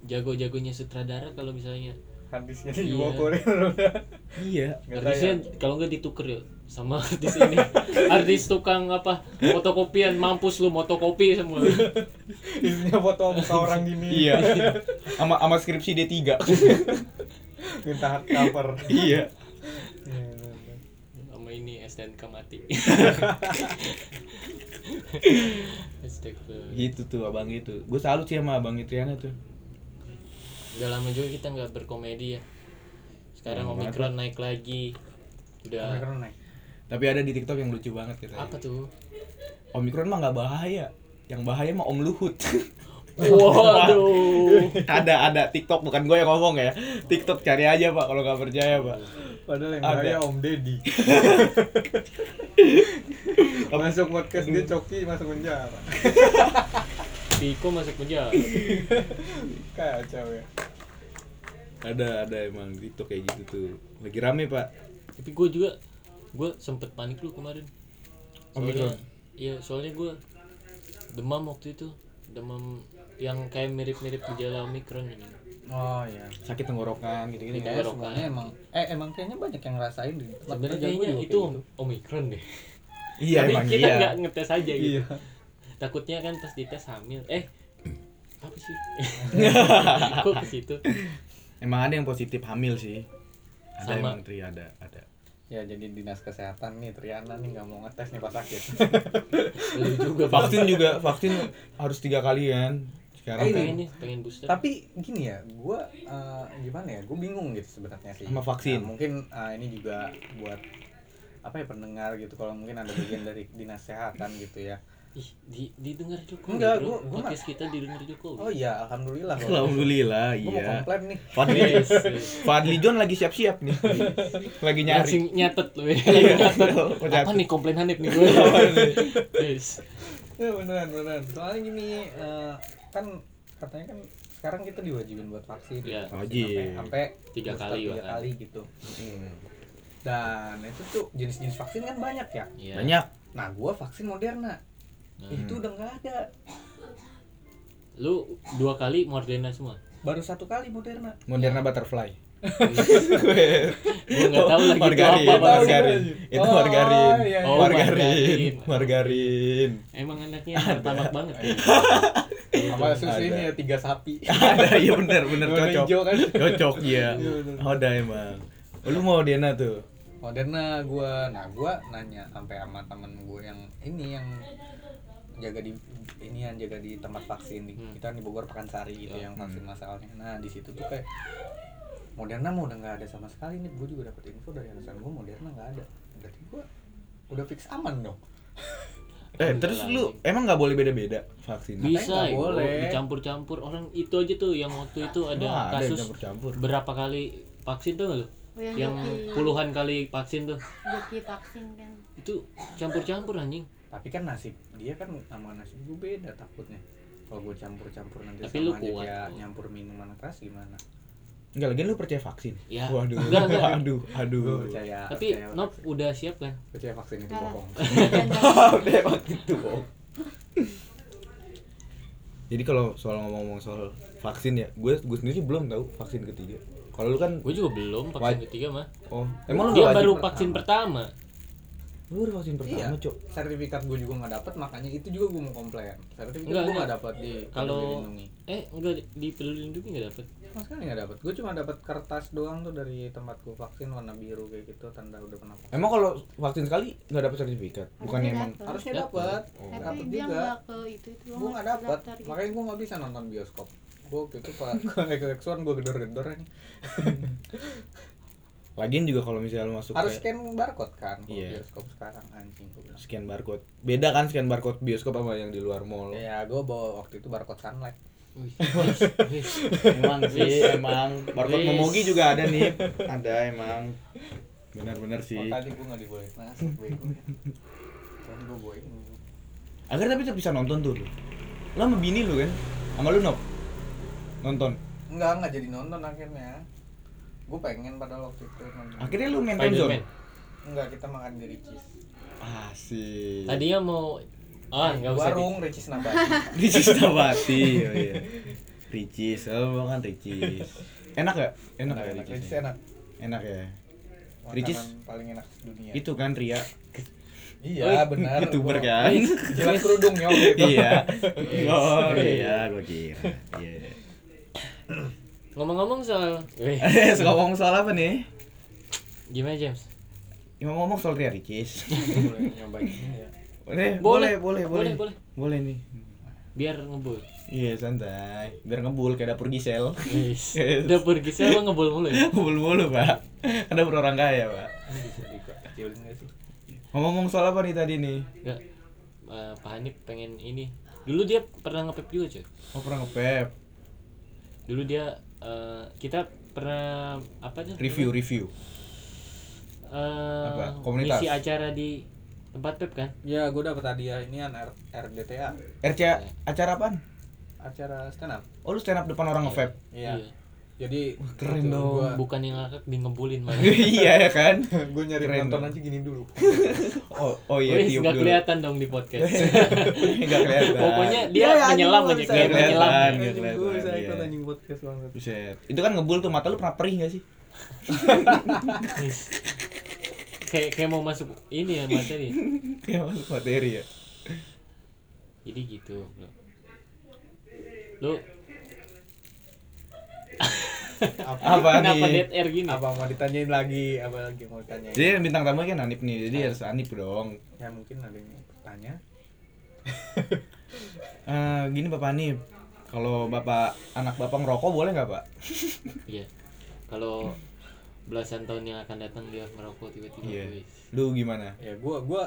jago jagonya sutradara kalau misalnya Harddisknya Iya. dibawa kurir udah. iya Nggak artisnya kalau nggak dituker ya sama artis ini artis tukang apa fotokopian mampus lu motokopi semua sayang. Isinya foto muka orang gini. iya sama sama skripsi D3 Minta hard cover. iya Iya, iya, iya. sama ini STNK mati Astagfirullah. gitu tuh abang itu gue salut sih sama abang Triana tuh udah lama juga kita nggak berkomedi ya sekarang Lama banget. omikron naik lagi udah Omikron naik. tapi ada di TikTok yang lucu banget katanya. apa tuh Omikron mah nggak bahaya. Yang bahaya mah Om Luhut. waduh ada ada TikTok bukan gue yang ngomong ya. TikTok cari aja Pak kalau nggak percaya Pak. Padahal yang Ada. bahaya Om Deddy. masuk podcast dia coki masuk penjara. Piko masuk penjara Kacau ya. Ada ada emang TikTok kayak gitu tuh. Lagi rame Pak. tapi gue juga gue sempet panik lu kemarin soalnya Omikron. iya soalnya gue demam waktu itu demam yang kayak mirip-mirip gejala omikron ini Oh iya. Sakit tenggorokan Iya. gitu-gitu. kan. Kayak sebenarnya emang eh emang kayaknya banyak yang ngerasain deh. Tempat sebenarnya kerja gua kayaknya juga itu kayak gitu. om- omikron deh Iya tapi emang kita iya. nggak ngetes aja gitu Iya. takutnya kan pas dites hamil eh apa sih kok ke situ Emang ada yang positif hamil sih. Ada Sama. emang Tri ada ada. Ya jadi dinas kesehatan nih Triana nih nggak mau ngetes nih pas sakit. lu juga Bang. Vaksin juga vaksin harus tiga kali kan. Sekarang Eh, kan pengen nih pengen booster Tapi gini ya, gua eh, gimana ya? Gua bingung gitu sebenarnya sih. Sama vaksin. Nah, mungkin eh, ini juga buat apa ya pendengar gitu kalau mungkin ada bagian dari dinas kesehatan gitu ya. ih di didengar Jokowi Enggak, bro. gua- gua podcast kita didengar Jokowi Oh iya, alhamdulillah. Alhamdulillah Gua mau iya. komplain nih. Fadli Yes, yes. Fadli John lagi siap-siap nih. Lagi nyari. Iya. Langsung nyatet lu ya. Lagi nyatet. Nyatet. Apa nih komplain Hanif nih gue? Yes. Ya beneran beneran. Soalnya gini eh, kan katanya kan sekarang kita diwajibin buat vaksin. Iya. Vaksin Wajib. sampai- Sampai Tiga booster kali tiga bahkan. kali gitu. Hmm. Dan itu tuh jenis-jenis vaksin kan banyak ya. Iya. Banyak. Nah, gua vaksin Moderna. Hmm. Nah, Itu udah nggak ada. Lu dua kali Moderna semua. Baru satu kali Moderna. Moderna butterfly. Gue nggak tahu lagi itu margarin, apa Bang. margarin. Itu Oh, margarin. iya, iya. Oh, margarin. margarin. Margarin. Emang anaknya martabak banget. Sama sus Ada. ini ya tiga sapi. Ada iya benar benar Warna cocok. hijau kan. Cocok ya. Iya, bener. Ada emang. Lu mau Dena tuh. Moderna gua. Nah, gua nanya sampai sama temen gua yang ini yang jaga di ini yang jaga di tempat vaksin di, Hmm. Iya. Hmm. kita di Bogor Pekansari gitu Ya. yang vaksin masalnya. Nah, di situ tuh kayak Moderna mau udah nggak ada sama sekali nih gue juga dapet info dari alasan gue Moderna nggak ada berarti gue udah fix aman dong Eh, terus lu emang nggak boleh beda-beda vaksinnya? nggak bisa ya, boleh. dicampur-campur orang itu aja tuh yang waktu itu ada Wah, ada yang kasus campur-campur. berapa kali vaksin tuh nggak lu Oh, yang yang joki- puluhan kali vaksin tuh joki vaksin kan itu campur-campur anjing tapi kan nasib dia kan sama nasib gue beda takutnya kalau gue campur-campur nanti Tapi sama lu aja kuat kayak kok. nyampur minuman keras gimana Enggak lagi lu percaya vaksin? Ya. Waduh. Enggak, enggak. Aduh, aduh. gue Ya, percaya tapi percaya, Nob udah siap kan percaya vaksin itu Parah. bohong Dan Udah emang gitu, Bang. Jadi kalau soal ngomong-ngomong soal vaksin ya, gue gue sendiri belum tahu vaksin ketiga. Kalau lu kan gue juga belum vaksin Waj- ketiga mah oh, emang lu dia nggak baru wajib? vaksin pertama Lu baru vaksin pertama, Cok. sertifikat gue juga nggak dapet makanya itu juga gue mau komplain sertifikat Nggak, gue nggak. nggak dapet di Kalau- Peduli lindungi eh enggak di peduli lindungi nggak dapet Mas kan nggak dapet gue cuma dapet kertas doang tuh dari tempat gue vaksin warna biru kayak gitu tanda udah pernah vaksin. Emang kalau vaksin sekali nggak dapat sertifikat? Bukannya Harusnya emang dapet. harusnya Dapet. dapet Oh. tapi dapet dia juga nggak gitu. ke itu itu gue nggak dapet makanya gue nggak bisa nonton bioskop gue waktu itu pak X One gue gedor-gedor aja lagian juga kalau misalnya lu masuk harus kayak scan barcode kan kalau Iya. bioskop sekarang anjing gue bilang scan barcode. Beda kan scan barcode bioskop sama yang di luar mall. Iya, ya gue bawa waktu itu barcode sunlight Wih, wih, wih. emang sih emang barcode Wis. memogi juga ada nih ada emang benar-benar sih makanya gue nggak dibolehin masuk bego ya kan gue boy agar tapi tetap bisa nonton tuh lu Lu sama bini lu kan sama lu Nob? nonton nggak nggak jadi nonton akhirnya gue pengen pada waktu itu nonton akhirnya lu main time zone Spiderman nggak kita makan di Ricis asik tadinya mau ah nggak usah di- warung Ricis Nabati Ricis Tabati oh iya Ricis oh makan Ricis enak gak enak ya enak Ricis Iya. Ricis enak enak ya makanan Ricis? paling enak dunia itu kan Ria iya benar youtuber gua- kan jelas kerudung ya waktu itu iya oh iya gue kira iya ngomong-ngomong soal Wih, eh ngomong soal apa nih gimana James Ya, ngomong soal Ria Ricis boleh nyobain ya Boleh. boleh boleh boleh Boleh, boleh boleh. boleh nih biar ngebul iya santai biar ngebul kayak dapur gisel Wis. udah pergi sih lo ngebul mulu ya ngebul mulu pak kan dapur orang kaya pak Ini bisa dikecilin nggak sih ngomong-ngomong soal apa nih tadi nih nggak eh, Pak Hanif pengen ini dulu dia pernah ngepep juga cuy oh pernah ngepep dulu dia eh, kita pernah apa tuh review review Eh, Apa? Komunitas? ngisi acara di tempat pep kan ya gue dapet hadiah ini an R- RDTA RCA acara apaan acara stand up oh lu stand up depan orang ngevap Iya. jadi keren waktu dong. gua- bukan yang ngakak di ngebulin malah iya ya kan gue nyari Keren. penonton aja gini dulu oh oh iya Wis, tiup nggak dulu kelihatan dong di podcast nggak kelihatan Pokoknya Iya, dia menyelam aja, kayak kelihatan, menyelam. nggak gue bisa kelihatan, ikut iya. anjing podcast banget Buset. itu kan ngebul tuh mata lu pernah perih gak sih Wis. kayak kayak mau masuk ini ya materi kayak masuk materi ya jadi gitu bro. lu apa kenapa dead nih air gini apa mau ditanyain lagi apa lagi mau ditanyain jadi yang bintang tamunya kan Hanif nih, jadi harus Hanif dong. ya mungkin ada yang mau bertanya Eh, gini Bapak Hanif, kalau Bapak anak Bapak ngerokok boleh nggak Pak? Iya. Kalau belasan tahun yang akan datang dia merokok tiba-tiba. Iya. wis. Lu gimana? ya gue gue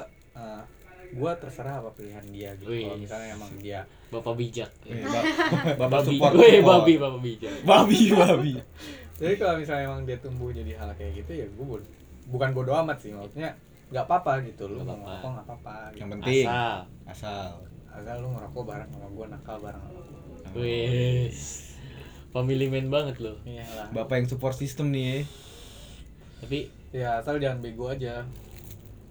gue terserah apa pilihan dia gitu Wih. kalau misalnya emang dia Bapak bijak. Eh, Ya. ba- bapak Babi. support. Weh, support. babi, bapak bijak. Babi, babi. jadi kalau misalnya emang dia tumbuh jadi hal kayak gitu ya gue bukan bodo amat sih maksudnya nggak apa-apa gitu lu Nggak mau apa-apa. ngerokok nggak apa-apa gitu. Yang penting Asal. asal. asal lu ngerokok bareng sama gue nakal bareng sama gue Wis. Family man banget loh. iya lah Bapak yang support sistem nih. Tapi ya asal jangan bego aja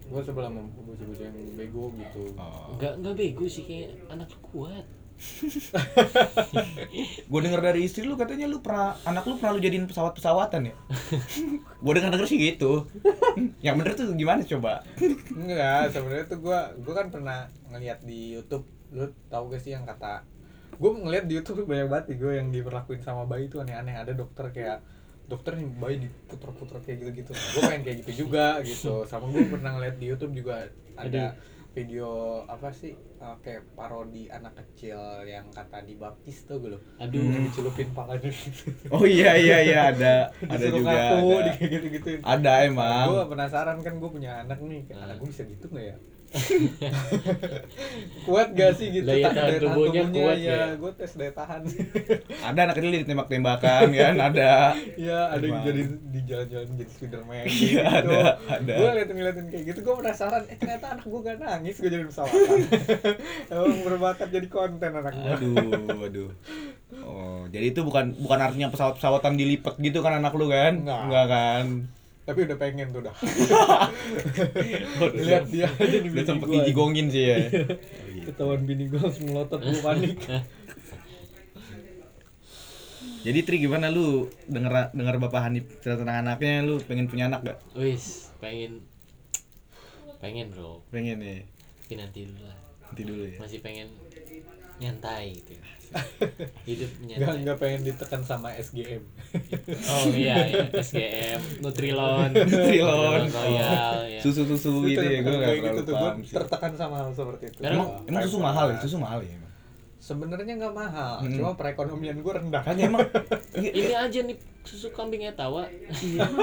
gue sebelah sama bocah-bocah yang bego gitu Oh. enggak enggak bego sih kayak anak kuat. Gue denger dari istri lu katanya lu pernah anak lu pernah lu jadiin pesawat-pesawatan ya. Gue denger denger sih gitu. yang bener tuh gimana coba? Enggak, sebenarnya tuh gua gua kan pernah ngeliat di YouTube. Lu tahu gak sih yang kata gua ngeliat di YouTube banyak banget nih gua yang diperlakuin sama bayi tuh aneh-aneh. Ada dokter kayak dokter nih bayi diputer-puter kayak gitu-gitu. Nah, gua pengen kayak gitu juga gitu. Sama gua pernah ngeliat di YouTube juga ada video apa sih eh, kayak parodi anak kecil yang kata dibaptis tuh gue loh Aduh. celupin palanya gitu Oh iya iya iya ada ada Disuruh juga. ngaku, ada. gitu gituin Ada gue emang. penasaran kan gue punya anak nih kayak Nah. anak gue bisa gitu nggak ya kuat gak sih gitu Lah, iya, tahan tubuhnya kuat ya nggak ya? gue tes daya tahan Ada anak kecil ditembak-tembakan kan ada. ya ada yang Emang. jadi di jalan-jalan jadi Spiderman Iya, ada, ada. gue liatin ngeliatin kayak gitu gue penasaran eh ternyata anak gue gak nangis gue jadi pesawatan emang berbakat jadi konten anak gue Aduh, aduh. Oh, jadi itu bukan bukan artinya pesawat-pesawatan dilipat gitu kan anak lu kan? Enggak. Enggak kan. tapi udah pengen tuh dah lihat dia aja di Udah bini sempet gua. dijigongin sih ya. ketahuan bini gue langsung melotot gue panik Jadi Tri gimana lu denger denger Bapak Hanif cerita tentang anaknya lu pengen punya anak gak? Wis, pengen pengen bro, Pengen ya. tapi nanti dulu lah. Nanti dulu ya. Masih pengen nyantai gitu. Hidup nggak nyantai. nggak pengen ditekan sama SGM Oh iya, iya, SGM, Nutrilon, Nutrilon. Royal, ya. Susu-susu gitu ya, gue Gua gak gitu terlalu tuh gue paham sih. tertekan sama hal seperti itu Karena- Emang, emang susu mahal ya? Susu mahal ya emang? sebenarnya nggak mahal Hmm. cuma perekonomian gue rendah Kan emang Ini aja nih susu kambingnya tawa. Iya.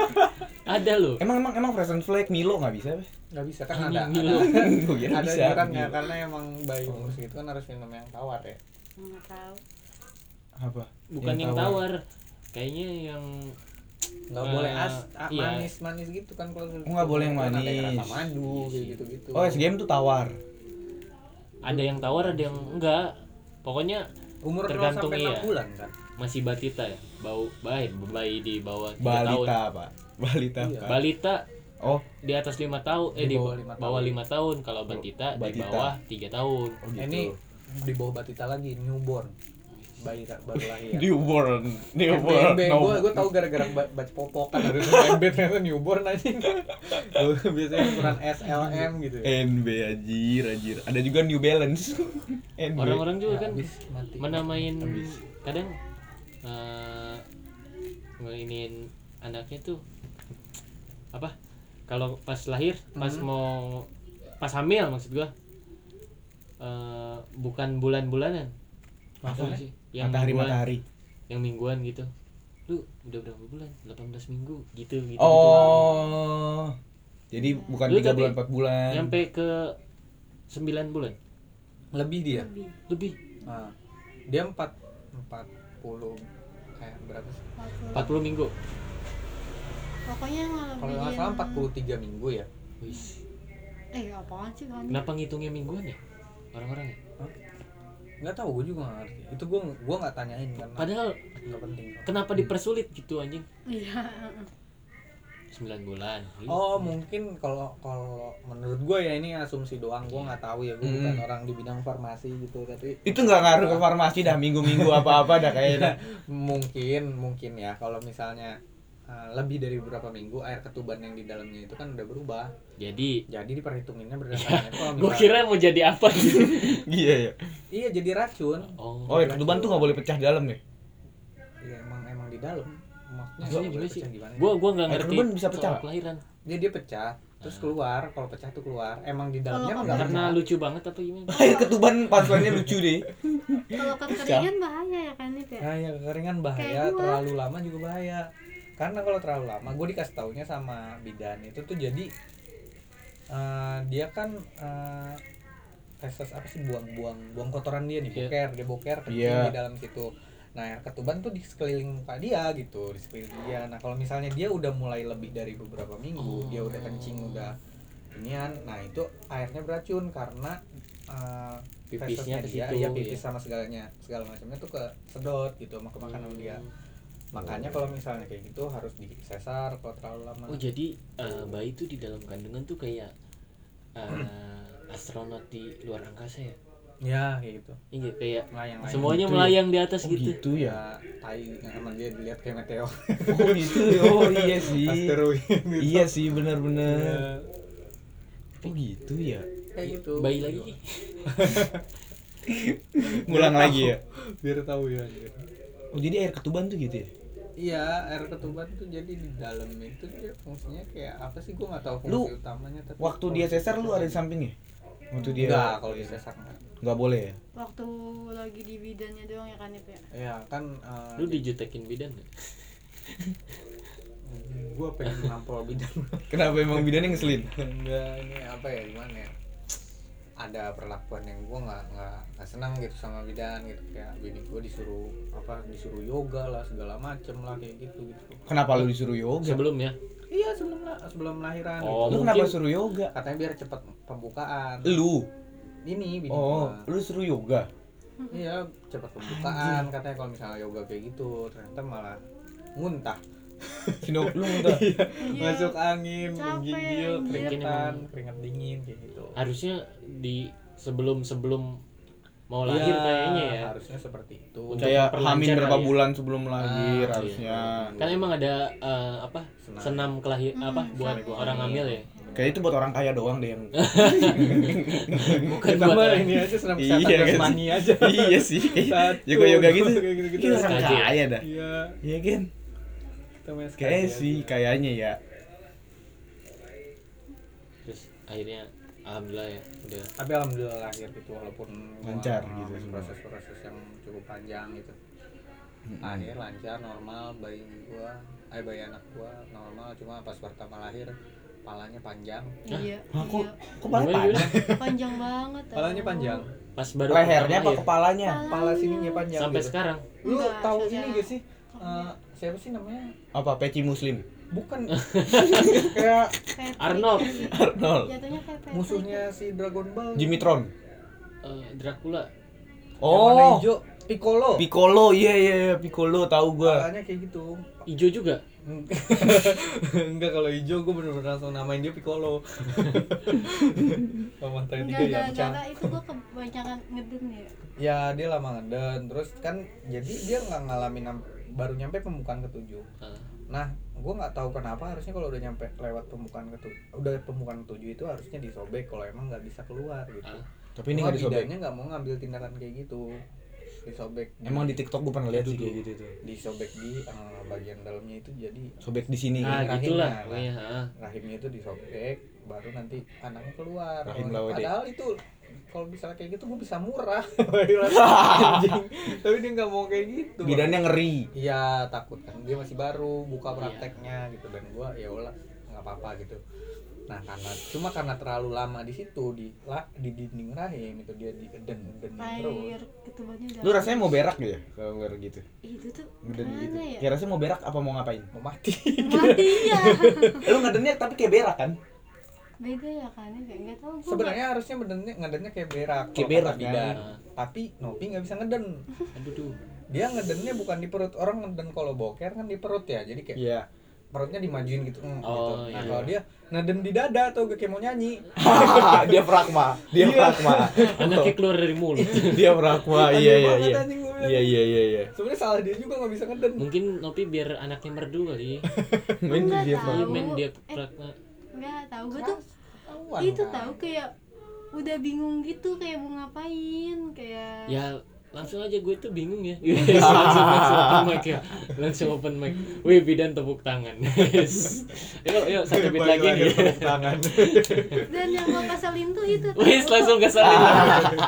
Ada loh. Emang emang emang fresh and flake Milo nggak bisa? Beh? nggak bisa Ini kan Eh, ada Milo. ada, Gua kira ada kan, bisa. gitu. iurannya karena emang bayi ngurus gitu kan harus minum yang tawar ya gitu. nggak tahu Apa? Bukan yang tawar. Kayaknya yang nggak Eh, boleh as ah, iya. manis manis gitu kan kalau Oh, nggak boleh yang kan ada yang manis. rasa madu Iya sih. gitu gitu Oh SGM tuh tawar. ada yang tawar, ada yang enggak. Pokoknya umur 0 tergantung sampai enam iya. bulan kan masih batita ya. Bau bayi, bayi di bawah 3 tahun. Balita pak. Balita Iya. pak. Balita Oh, di atas lima tahun eh Di di, bawah lima bawah tahun. lima tahun kalau batita, di Batita. bawah tiga tahun oh gitu. ini di bawah batita lagi newborn bayi tak baru lahir newborn, newborn. MBMB gue gue tau gara-gara ba- baca popokan ada MBMB ternyata newborn aja biasanya ukuran SLM gitu ya NB anjir, anjir. Ada juga New Balance. NB. orang-orang juga Ya, kan Iya, abis mati menamain kadang eh nginiin anaknya tuh apa kalau pas lahir pas Hmm. Mhm. mau pas hamil maksud gua eh bukan bulan-bulanan Tau Maksudnya? gak sih? yang Matahari mingguan, matahari. yang mingguan gitu lu udah berapa bulan 18 minggu gitu gitu, Oh. Jadi bukan Lu tiga tapi- bulan empat bulan. gitu. nyampe ke 9 bulan lebih Iya. dia lebih lebih Ah. dia empat empat puluh eh berapa sih 40. 40 minggu pokoknya kalau Iya. nggak salah empat puluh tiga minggu ya Wis. eh apaan sih kamu kenapa ngitungnya mingguan ya orang-orang ya nggak tahu gue juga nggak ngerti itu gue gue nggak tanyain karena padahal nggak penting kenapa dipersulit gitu anjing iya 9 bulan Iya. Ih, Oh mungkin kalau kalau menurut gue ya ini asumsi doang gue nggak tahu ya gue Hmm. bukan orang di bidang farmasi gitu tapi Itu nggak ngaruh ke farmasi dah minggu-minggu apa-apa dah kayaknya. mungkin mungkin ya kalau misalnya uh, lebih dari beberapa minggu air ketuban yang di dalamnya itu kan udah berubah jadi jadi diperhitunginnya berdasarkan itu kalau gua misalnya- kira mau jadi apa gitu Iya ya. iya jadi racun oh Oh, ya ketuban tuh nggak boleh pecah di dalam ya. iya emang emang di dalam maksudnya maksudnya nggak gimana boleh sih pecah gimana gua gua nggak Eh, ngerti ketuban bisa pecah soal nggak? kelahiran dia dia pecah Nah. terus keluar kalau pecah tuh keluar emang di dalamnya Kalau nggak karena pecah. lucu banget apa gimana Air ketuban pantulannya lucu deh. kalau Iya. kekeringan bahaya ya kan itu ya Nah, yang kekeringan bahaya, Kayak gua. terlalu lama juga bahaya. Karena kalau terlalu lama, gue dikasih taunya sama bidan itu tuh jadi eh, dia kan eh feses apa sih buang-buang buang kotoran dia nih Iya. boker, dia boker kencing Iya. di dalam situ. Nah, air ketuban tuh di sekeliling muka dia gitu, di sekeliling dia. Nah, kalau misalnya dia udah mulai lebih dari beberapa minggu, dia udah kencing udah inian, nah itu airnya beracun karena eh, Pipisnya fesesnya ke dia, situ, iya, iya. pipis sama segalanya, segala macamnya tuh ke sedot gitu, sama kemakan sama dia. Hmm. Makanya kalau misalnya kayak gitu harus di sesar kalau terlalu lama. oh jadi eh, bayi tuh di dalam kandungan tuh kayak eh, astronot di luar angkasa ya Ya, kayak gitu. Iya kayak Melayang semuanya gitu ya? melayang di atas gitu. gitu ya. ya tai sama dia dilihat kayak meteor. Oh gitu. Oh iya sih. Asteroid gitu. Iya sih benar-benar. Ya, Oh gitu ya. Kayak gitu. Bayi lagi. Ngulang lagi ya. Biar tahu ya. anjir. Oh jadi air ketuban tuh gitu ya. Iya, air ketuban tuh jadi di dalam itu dia fungsinya kayak apa sih gua nggak tahu fungsi Lu, utamanya tapi Waktu dia sesar lu ada di sampingnya. waktu dia Enggak, kalau di sesak enggak. nggak boleh ya waktu lagi di bidannya doang ya kan Nip, ya Ya kan eh, lu dijutekin bidan nggak? gua pengen nampol bidan kenapa emang bidannya ngeselin enggak ini apa ya gimana ya ada perlakuan yang gua nggak nggak nggak senang gitu sama bidan gitu kayak bini gua disuruh apa disuruh yoga lah segala macem lah kayak gitu gitu kenapa lu disuruh yoga sebelumnya iya sebelum la- sebelum lahiran Oh, lu gitu. kenapa mungkin- suruh yoga katanya biar cepet pembukaan lu ini bini oh gua. lu suruh yoga iya cepet pembukaan katanya kalau misalnya yoga kayak gitu ternyata malah muntah Sino, lu muntah Iya. masuk angin Capek, menggigil anjir. keringetan keringet dingin kayak gitu harusnya di sebelum sebelum mau lahir Iya, kayaknya ya harusnya seperti itu Untuk kayak perlancar hamil berapa kali ya. bulan sebelum lahir Ah, harusnya kan emang ada eh, apa Senam. senam kelahir Hmm, apa buat senam. orang hamil ya kayak itu buat orang kaya doang deh yang bukan Sama buat ini aja senam Iya, kesehatan kan? jasmani aja iya sih Satu, yoga yoga gitu kayak gitu-gitu. Iya, orang Kaji. kaya dah iya iya kan kita main kayak sekali sih aja. kayaknya ya terus akhirnya alhamdulillah ya udah tapi alhamdulillah lahir gitu walaupun gua Lancar ngalamin gitu semua. proses-proses yang cukup panjang gitu Ah, iya. lahir lancar normal bayi gua eh bayi anak gua normal cuma pas pertama lahir palanya panjang iya Hah, kok iya. kok malah Gimana, panjang? panjang banget tau. palanya panjang pas baru pertama lehernya apa lahir, kepalanya pala sininya panjang sampai gitu. sekarang lu Enggak, tahu sejarah. ini gak sih Eh, siapa sih namanya apa peci muslim bukan kayak Patrick. Arnold. Arnold jatuhnya kayak Patrick. musuhnya si Dragon Ball Jimitron eh, Dracula yang warna oh hijau Piccolo Piccolo iya iya iya, Piccolo tahu gua palanya kayak gitu hijau juga enggak kalau hijau gue bener-bener langsung namain dia Piccolo sama tadi ya, tiga enggak enggak yang enggak cang enggak, itu gua kebanyakan ngeden ya ya dia lama ngeden terus kan jadi dia nggak ngalamin am- baru nyampe pembukaan ketujuh Eh, nah gue nggak tahu kenapa harusnya kalau udah nyampe lewat pembukaan ketujuh udah pembukaan ketujuh itu harusnya disobek kalau emang nggak bisa keluar gitu Ah. tapi ini ini nggak disobek bidannya nggak mau ngambil tindakan kayak gitu disobek emang di TikTok gua pernah lihat sih kayak gitu tuh disobek di eh, bagian dalamnya itu jadi sobek di sini ah kan? rahimnya gitulah lah. pokoknya ah. rahimnya itu disobek baru nanti anaknya keluar Rahim lawa Kalau- dia. padahal itu kalau misalnya kayak gitu gue bisa murah Anjing. tapi dia nggak mau kayak gitu bidannya ngeri iya takut kan dia masih baru buka prakteknya gitu dan gue ya ulah nggak apa-apa gitu nah karena cuma karena terlalu lama di situ di la- di dinding rahim itu dia di den den terus air ketubannya udah lu rasanya mau berak gak ya kalau nggak gitu itu tuh Ngeden gitu gimana ya ya rasanya mau berak apa mau ngapain Eh, mau mati mati ya lu ngedennya tapi kayak berak kan beda ya kan Nip, ya enggak tahu gua sebenarnya harusnya bedennya ngedennya kayak berak Kayak kalau kata berak, bidan. kan? tapi Nopi nggak bisa ngeden aduh duh dia ngedennya bukan di perut orang ngeden kalau boker kan di perut ya jadi kayak iya perutnya dimajuin gitu, mm, gitu. Oh, nah iya. kalau dia ngeden di dada atau kayak mau nyanyi dia pragma dia pragma anaknya keluar dari mulut dia pragma iya iya iya iya iya iya iya sebenarnya salah dia juga nggak bisa ngeden mungkin Nopi biar anaknya merdu kali main tuh Enggak dia Iya, tahu. pragma men dia Eh. Dracula enggak tahu gua tuh Ketahuan, itu kan? tahu kayak udah bingung gitu kayak mau ngapain kayak ya langsung aja gue tuh bingung ya Yes, langsung langsung open mic ya langsung open mic wih bidan tepuk tangan yes. yuk yuk satu bit Balik lagi gitu. nih ke tepuk tangan dan yang gua keselin tuh itu tau. wih langsung kesal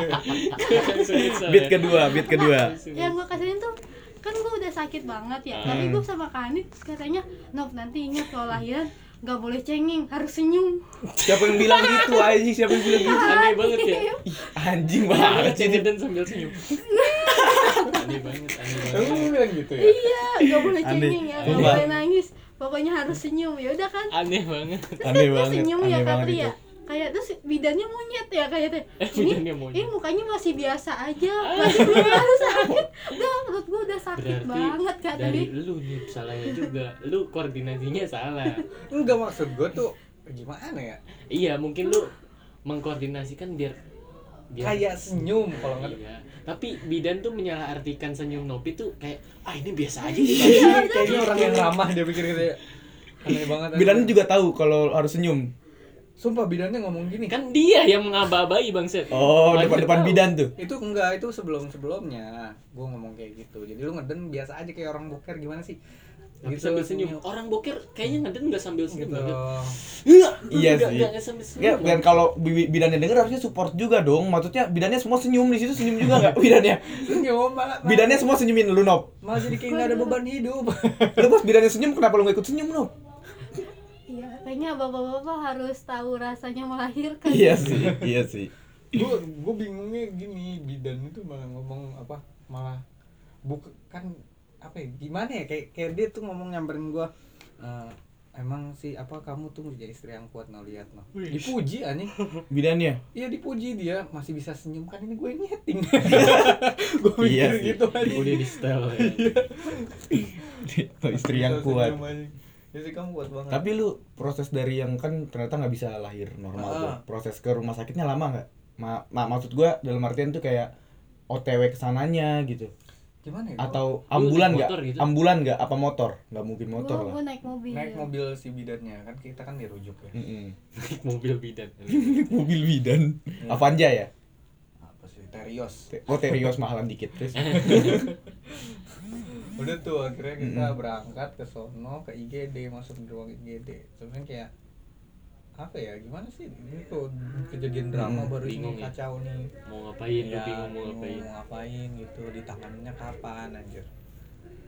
langsung kesal beat ya. kedua beat kedua yang gua keselin tuh kan gua udah sakit banget ya tapi Hmm. gua sama Kanit katanya Nov nanti ingat kalau lahiran nggak boleh cengeng harus senyum siapa yang bilang gitu anjing siapa yang bilang gitu aneh banget ya Iya. Ih, anjing Aneh banget sih sih dia. dan sambil senyum aneh banget aneh Emang banget lu bilang gitu ya iya nggak boleh Aneh. cengeng ya nggak Sumpah. boleh nangis pokoknya harus senyum ya udah kan aneh banget aneh terus banget senyum ya aneh Kak banget Pri itu ya kayak terus bidannya monyet ya kayak teh Eh, ini bidannya monyet. ini mukanya masih biasa aja masih biasa sakit udah perut gua udah sakit berarti banget kak dari tadi lu nih salahnya juga lu koordinasinya salah enggak maksud gue tuh gimana ya iya mungkin lu mengkoordinasikan biar Iya. biar kayak senyum kalau nggak Iya. Tapi bidan tuh menyalahartikan senyum Nopi tuh kayak ah ini biasa aja nih. Iya, gitu. kayaknya orang yang ramah dia pikir gitu ya aneh banget bidan juga tahu kalau harus senyum sumpah bidannya ngomong gini kan dia yang mengaba-abai bangset. oh Orang depan depan tahu. bidan tuh itu enggak itu sebelum sebelumnya gue ngomong kayak gitu jadi lu ngeden biasa aja kayak orang boker gimana sih Nggak Gitu, sambil senyum. senyum. Orang boker kayaknya ngeden nggak sambil senyum. gitu nggak? Iya Nggak- sih. nggak- nggak sambil senyum. Ya, dan kalau bi- bidannya denger harusnya support juga dong. Maksudnya bidannya semua senyum di situ senyum juga nggak bidannya? senyum malah Bidannya semua senyumin lu Nob. malah jadi kayak nggak ada beban hidup Lu pas bidannya senyum kenapa lu nggak ikut senyum Nob? Iya, kayaknya bapak-bapak harus tahu rasanya melahirkan. Iya sih, iya sih. gue gue bingungnya gini bidan itu malah ngomong apa malah bukan apa ya gimana ya kayak kayak dia tuh ngomong nyamperin gue emang sih apa kamu tuh mau jadi istri yang kuat no lihat no Wih. dipuji anjing Bidannya. iya dipuji dia masih bisa senyum kan ini gue nyeting gue mikir Iya sih. gitu aja Udah di style ya. Istri yang Iya, kuat. jadi Iya kamu kuat banget Tapi lu proses dari yang kan ternyata nggak bisa lahir normal Ah. tuh. Proses ke rumah sakitnya lama nggak? Ma, ma- maksud gua dalam artian tuh kayak OTW kesananya gitu. gimana ya gua Atau Lu ambulan naik nggak? motor gitu? Ambulan nggak? Apa motor? Nggak mungkin motor Gua, lah. gua naik mobil. naik mobil si bidannya kan kita kan dirujuk ya Mm-mm. Naik mobil bidan. Mobil bidan. Avanza ya? apa sih terios Te- Oh Terios mahalan dikit terus. udah tuh akhirnya kita Mm-mm. berangkat ke sono ke IGD masuk di ruang IGD sebenarnya kayak apa ya gimana sih ini tuh kejadian drama Mm-mm. baru Bingung ini ya? kacau nih Mau Iya, ngapain lu Ya, bingung mau ngapain. mau ngapain gitu ditangannya kapan anjir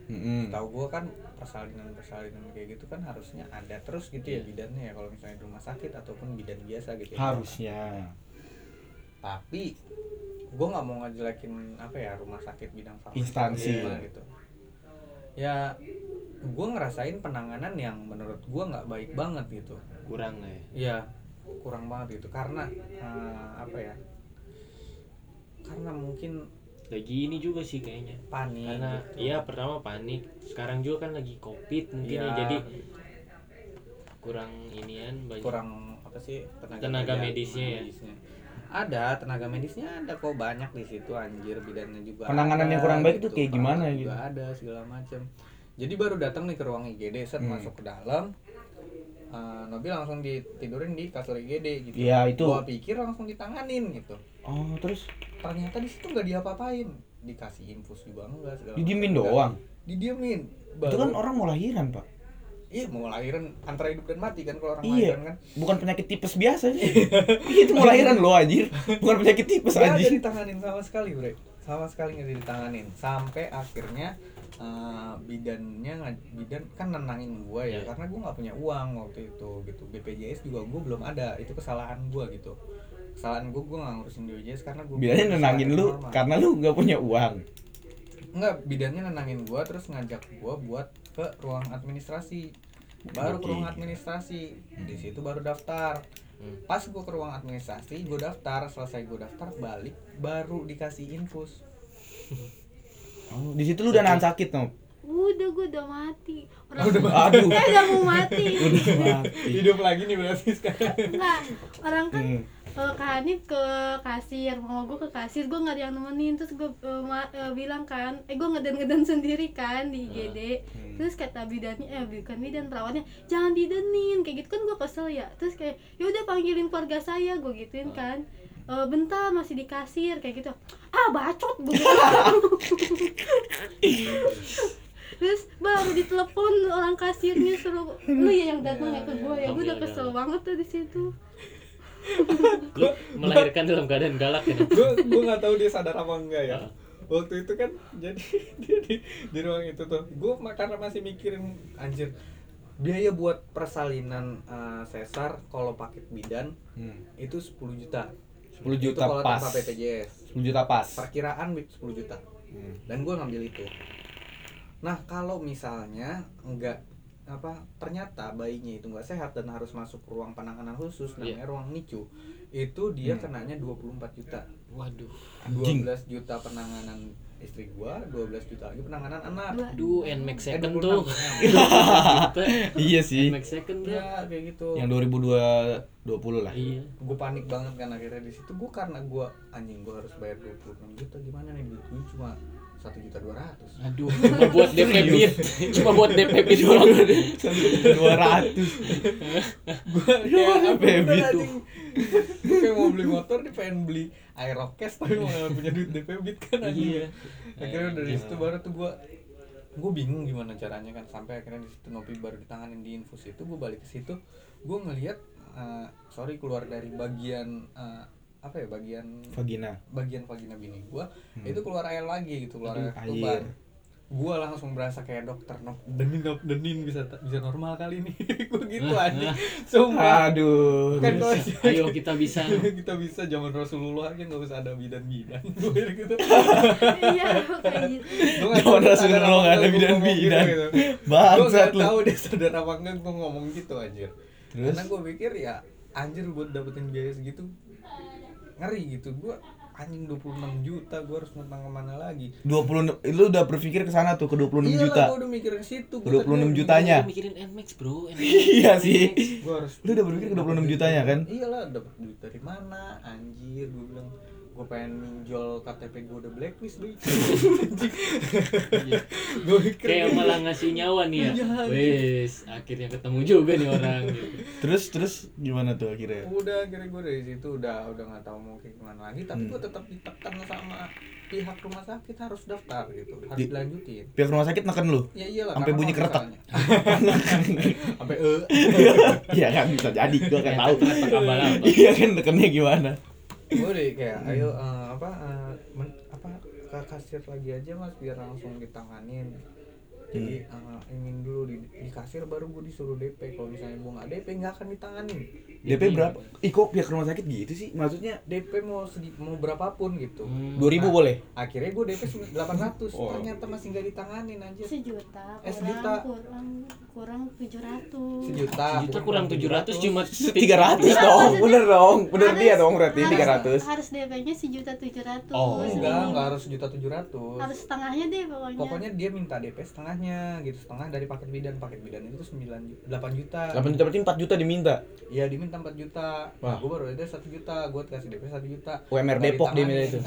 Hmm. Mm-mm. tahu gua kan persalinan persalinan kayak gitu kan harusnya ada terus gitu ya Iya. bidannya ya kalau misalnya di rumah sakit ataupun bidan biasa gitu ya. Harusnya. tapi gue nggak mau ngejelekin apa ya rumah sakit bidang farmasi Instansi. gimana gitu ya gue ngerasain penanganan yang menurut gue nggak baik banget gitu Kurang lah ya. ya kurang banget gitu karena eh, apa ya karena mungkin Lagi ini juga sih kayaknya. panik Karena gitu. iya pertama panik. Sekarang juga kan lagi Covid mungkin Iya, ya jadi kurang inian banyak. kurang apa sih tenaga, Tenaga kerja, medisnya ya? medisnya. ada tenaga medisnya ada kok banyak di situ anjir bidannya juga Penanganan ada, yang kurang baik itu kayak gimana perawat gitu? juga ada segala macam jadi baru datang nih ke ruang IGD set Hmm. masuk ke dalam eh, Nobi langsung ditidurin di kasur IGD gitu Iya, itu. gua pikir langsung ditanganin gitu Oh terus ternyata di situ nggak diapa-apain dikasih infus juga enggak segala didiemin macam. doang. didiemin Itu kan Baru- orang mau lahiran pak. iya mau lahiran antara hidup dan mati kan kalau orang Iya. lahiran kan Bukan penyakit tipes biasa sih. itu mau lahiran lo anjir. Bukan penyakit tipes Gak ada anjir. ditanganin sama sekali bre sama sekali nggak ada ditanganin sampai akhirnya eh, bidannya nge- bidan kan nenangin gua ya Iya. karena gua nggak punya uang waktu itu gitu BPJS juga gua belum ada itu kesalahan gua gitu kesalahan gua gua nggak ngurusin BPJS karena gua Biasanya nenangin lu karena lu nggak punya uang. nggak bidannya nenangin gua terus ngajak gua buat ke ruang administrasi baru Oke. ke ruang administrasi di situ baru daftar Hmm. pas gua ke ruang administrasi gua daftar selesai gua daftar balik baru dikasih infus Oh, di situ lu udah nahan sakit Nob. Udah gua udah mati. Oh, Orang Aduh. saya udah mau mati. Udah mati. hidup lagi nih berarti sekarang Enggak. Orang kan Hmm. eh, ke Hanif ke kasir mau gue ke kasir gue nggak ada yang nemenin terus gue bilang kan eh gue ngeden ngeden sendiri kan di IGD Hmm. terus kata bidannya eh bukan bidan perawatnya jangan didenin kayak gitu kan gue kesel ya terus kayak ya udah panggilin keluarga saya gue Ah. gituin kan "Eh, bentar masih di kasir kayak gitu ah bacot gue terus baru ditelepon orang kasirnya suruh lu ya yang datang ya ke gue ya gue udah kesel banget tuh di situ Lu melahirkan dalam keadaan galak ya. Nop? gue gue nggak tahu dia sadar apa enggak ya Heeh. waktu itu kan jadi dia di, di ruang itu tuh gue karena masih mikirin anjir biaya buat persalinan eh, sesar kalau paket bidan Hmm. itu 10 juta 10 Itu juta kalau pas. tanpa BPJS 10 juta pas. perkiraan 10 juta Hmm. dan gue ngambil itu nah kalau misalnya enggak apa ternyata bayinya itu nggak sehat dan harus masuk ruang penanganan khusus namanya ruang NICU itu dia Iya. Hmm. kenanya 24 juta Waduh. 12 Anjing. juta penanganan istri gua 12 juta lagi penanganan anak Dua. Aduh, NMAX Eh, second 26. tuh. Iya sih. NMAX second tuh. ya kayak gitu Yang 2020 lah. Iya. gue panik banget kan akhirnya di situ gue karena gua anjing gua harus bayar 26 juta gimana nih duit gue cuma satu juta dua ratus Aduh, cuma buat DP beat. Cuma buat DP beat doang. 200. kayak Baby Iya, bener, tuh. anjing. Gua kayak mau beli motor dia pengen beli Aerocash tapi mau nggak punya duit DP bit kan anjing Iya. akhirnya dari situ baru tuh gue gue bingung gimana caranya kan sampai akhirnya di situ Nopi baru ditanganin di infus itu gue balik ke situ gue ngelihat eh, sorry keluar dari bagian eh, apa ya bagian vagina bagian vagina bini gue itu keluar air lagi gitu keluar Aduh, air keluar air. gue langsung berasa kayak dokter Nop, denin Nop, denin bisa bisa normal kali ini gue gitu aja sumpah aduh kan kalau ayo kita bisa Kan. kita bisa zaman Rasulullah aja nggak usah ada bidan-bidan gue gitu iya kayak gitu Gua Zaman nggak tahu Rasulullah sadar apa nggak ada enggak gua bidan-bidan. ngomong gitu, gitu. Gua Bangsat nggak lu. tahu dia sadar apa enggak gue ngomong gitu anjir Terus? karena gue pikir ya anjir buat dapetin biaya segitu ngeri gitu gue anjing 26 juta gue harus ngutang kemana lagi 20 lu udah berpikir ke sana tuh ke 26 Iyalah, juta. Iya gua udah mikir ke situ. 26 Gua tadi jutanya. Lu mikirin nmax bro NMAX. iya sih. Gua harus Lu udah berpikir ke 26 jutanya kan? Iyalah, dapat Iya duit dari mana? Anjir, gua bilang gua pengen minjol KTP gua udah blacklist duit. gua gitu. mikir kayak malah ngasih nyawa nih ya Iya, anjing. wes akhirnya ketemu juga nih orang gitu Terus terus gimana tuh akhirnya? udah akhirnya gua dari situ udah udah nggak tahu mau kayak gimana lagi tapi Hmm. gua tetap ditekan sama pihak rumah sakit harus daftar gitu harus Di- dilanjutin Pihak rumah sakit neken lu. ya iyalah Sampai karena bunyi kalau keretak. misalnya- sampai eh Iya kan bisa jadi, gua kan tahu. Apa kabar apa? Iya kan nekennya gimana? gue deh kayak ayo eh, apa eh, men- apa ke kasir lagi aja mas biar langsung ditanganin jadi eh, ingin dulu di, di kasir baru gue disuruh DP kalau misalnya gue nggak DP nggak akan ditanganin Iya, DP berapa? Ih kok pihak rumah sakit gitu sih? Maksudnya DP mau sedi mau berapapun gitu Hmm. 2000 boleh? akhirnya gue DP 800 Oh. ternyata masih nggak ditanganin aja sejuta Eh, sejuta. kurang kurang kurang tujuh ratus sejuta Sejuta kurang 700 cuma 300 Iya, dong. maksudnya Bener dong. Bener harus- dia ya dong berarti harus- 300. harus DP-nya sejuta tujuh ratus Oh, enggak nggak harus sejuta tujuh ratus harus setengahnya deh pokoknya, pokoknya dia minta DP setengahnya gitu setengah dari paket bidan paket bidan itu sembilan ju- delapan juta 8 juta berarti 4 juta diminta. Iya diminta 4 juta. Wah. Nah, gue baru ada 1 juta, gue kasih DP 1 juta. UMR Dari Depok dia tangan. minta itu.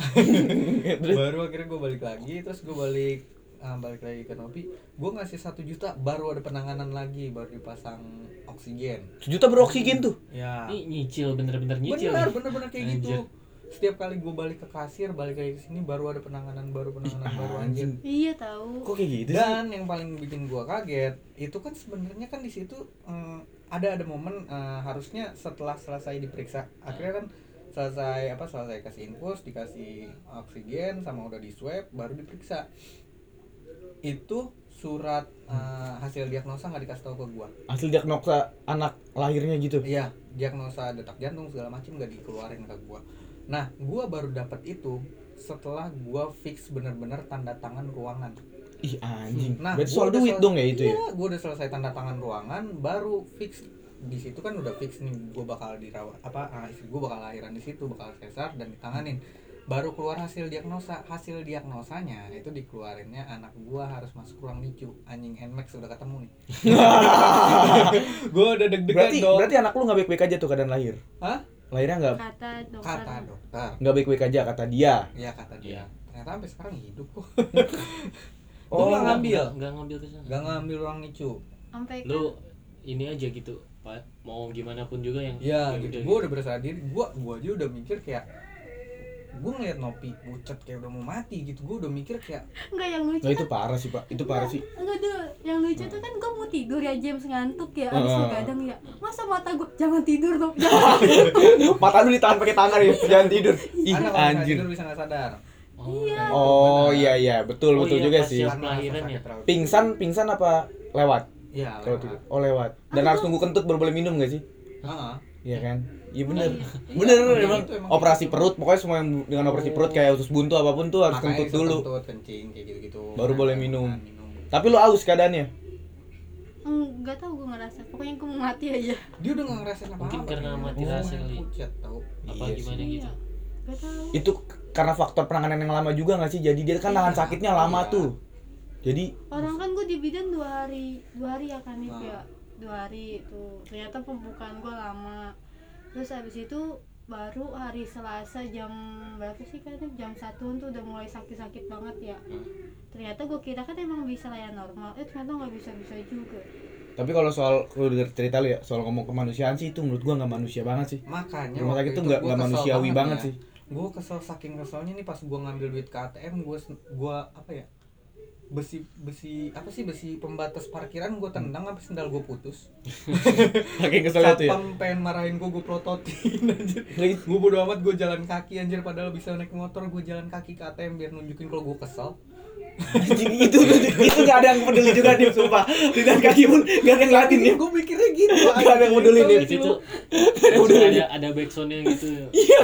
Terus baru akhirnya gue balik lagi, terus gue balik ah, balik lagi ke Nopi. Gue ngasih 1 juta, baru ada penanganan lagi, baru dipasang oksigen. sejuta beroksigen tuh. Ya. ini nyicil bener-bener nyicil Bener, nih. bener-bener kayak Gitu. Anjir. gitu. Setiap kali gue balik ke kasir, balik lagi ke sini baru ada penanganan baru penanganan baru anjir. iya Nah, tahu Kok kayak gitu sih? Dan yang paling bikin gua kaget itu kan sebenarnya kan di situ eh, ada ada momen eh, harusnya setelah selesai diperiksa akhirnya kan selesai apa selesai kasih infus dikasih oksigen sama udah di swab baru diperiksa itu surat eh, hasil diagnosa nggak dikasih tahu ke gua Hasil diagnosa anak lahirnya gitu. iya diagnosa detak jantung segala macam nggak dikeluarin ke gua nah gua baru dapat itu setelah gua fix bener-bener tanda tangan ruangan Ih anjing. Nah, Berarti gua soal udah duit sel- dong ya itu ya. Iya, gua udah selesai tanda tangan ruangan, baru fix di situ kan udah fix nih gua bakal dirawat apa ah, istri gua bakal lahiran di situ, bakal sesar dan ditanganin. Baru keluar hasil diagnosa. Hasil diagnosanya itu dikeluarinnya anak gua harus masuk ruang NICU. Anjing Nmax udah ketemu nih. Iya. gua udah deg-degan Berarti dong. berarti anak lu nggak baik-baik aja tuh keadaan lahir. Hah? Lahirnya nggak kata dokter Kata dokter. nggak baik-baik aja kata dia. Iya kata dia. Iya. Ternyata sampai sekarang hidup kok. Oh, Oh, ngambil. nggak ngambil ke sana Gak ngambil ruang NICU. sampai lu ini aja gitu pak mau gimana pun juga yang Ya, yang udah gitu. Gue udah berserah diri. Gue gue aja udah mikir kayak gue ngeliat Nopi pucet kayak udah mau mati gitu. Gue udah mikir kayak enggak yang lucu Nah, itu kan- parah sih pak. Itu parah sih. Enggak tuh, yang lucu tuh kan gue mau tidur ya James ngantuk ya abis Heeh. begadang ya Masa mata gue, jangan tidur dong, jangan Mata lu ditahan pakai tangan ya. Jangan tidur. Ih anak kalau misalnya anjir. tidur bisa nggak sadar. oh, Iya. Oh iya iya betul Oh, betul iya, juga pas sih. yang- Pelahiran ya? Pingsan pingsan apa lewat? Iya. Kalau tidur. Oh lewat. Dan harus tunggu kentut baru boleh minum nggak sih? Heeh. Iya kan? Iya bener. Iya, Bener emang emang. gitu, emang Operasi gitu. perut pokoknya semua yang dengan operasi perut kayak usus buntu apapun tuh harus kentut Makanya bisa dulu. Kentut, kencing kayak gitu-gitu. Baru boleh minum. Makan, minum. Tapi lu aus keadaannya. Enggak tau gue ngerasa, pokoknya gue mau mati aja Dia udah nggak ngerasain apa-apa. Mungkin karena kayaknya. mati rasa Oh, kali. Pucet tau. apa Iya gimana sih. gitu Gak tau Itu k- karena faktor penanganan yang lama juga nggak sih? Jadi dia kan nahan sakitnya lama Iya. tuh. Jadi Orang kan gue di bidan dua hari, dua hari ya kan ya Nah. kayak Dua hari itu, ternyata pembukaan gue lama Terus abis itu baru hari Selasa jam berapa sih kayaknya jam satu tuh udah mulai sakit-sakit banget ya ternyata gue kira kan emang bisa layan normal eh ternyata nggak bisa bisa juga tapi kalau soal kalau denger cerita lu ya soal ngomong kemanusiaan sih itu menurut gua nggak manusia banget sih. Makanya Rumah sakit tuh gitu nggak- nggak manusiawi banget ya. sih. Gue kesel saking keselnya nih pas gue ngambil duit ke ATM gue gue apa ya? besi besi apa sih besi pembatas parkiran gue tendang sampai sendal gue putus Saking keselnya tuh ya. satpam pengen marahin gue gue prototin anjir gue bodo amat gue jalan kaki anjir padahal bisa naik motor gue jalan kaki ke ATM biar nunjukin kalau gue kesel Anjing itu itu gak ada yang peduli juga nih sumpah. Lihat kaki pun gak ada yang ngeliatin ya. gue mikirnya gitu Gak ada yang peduli nih. di Iya, situ di situ ada ada backsoundnya gitu iya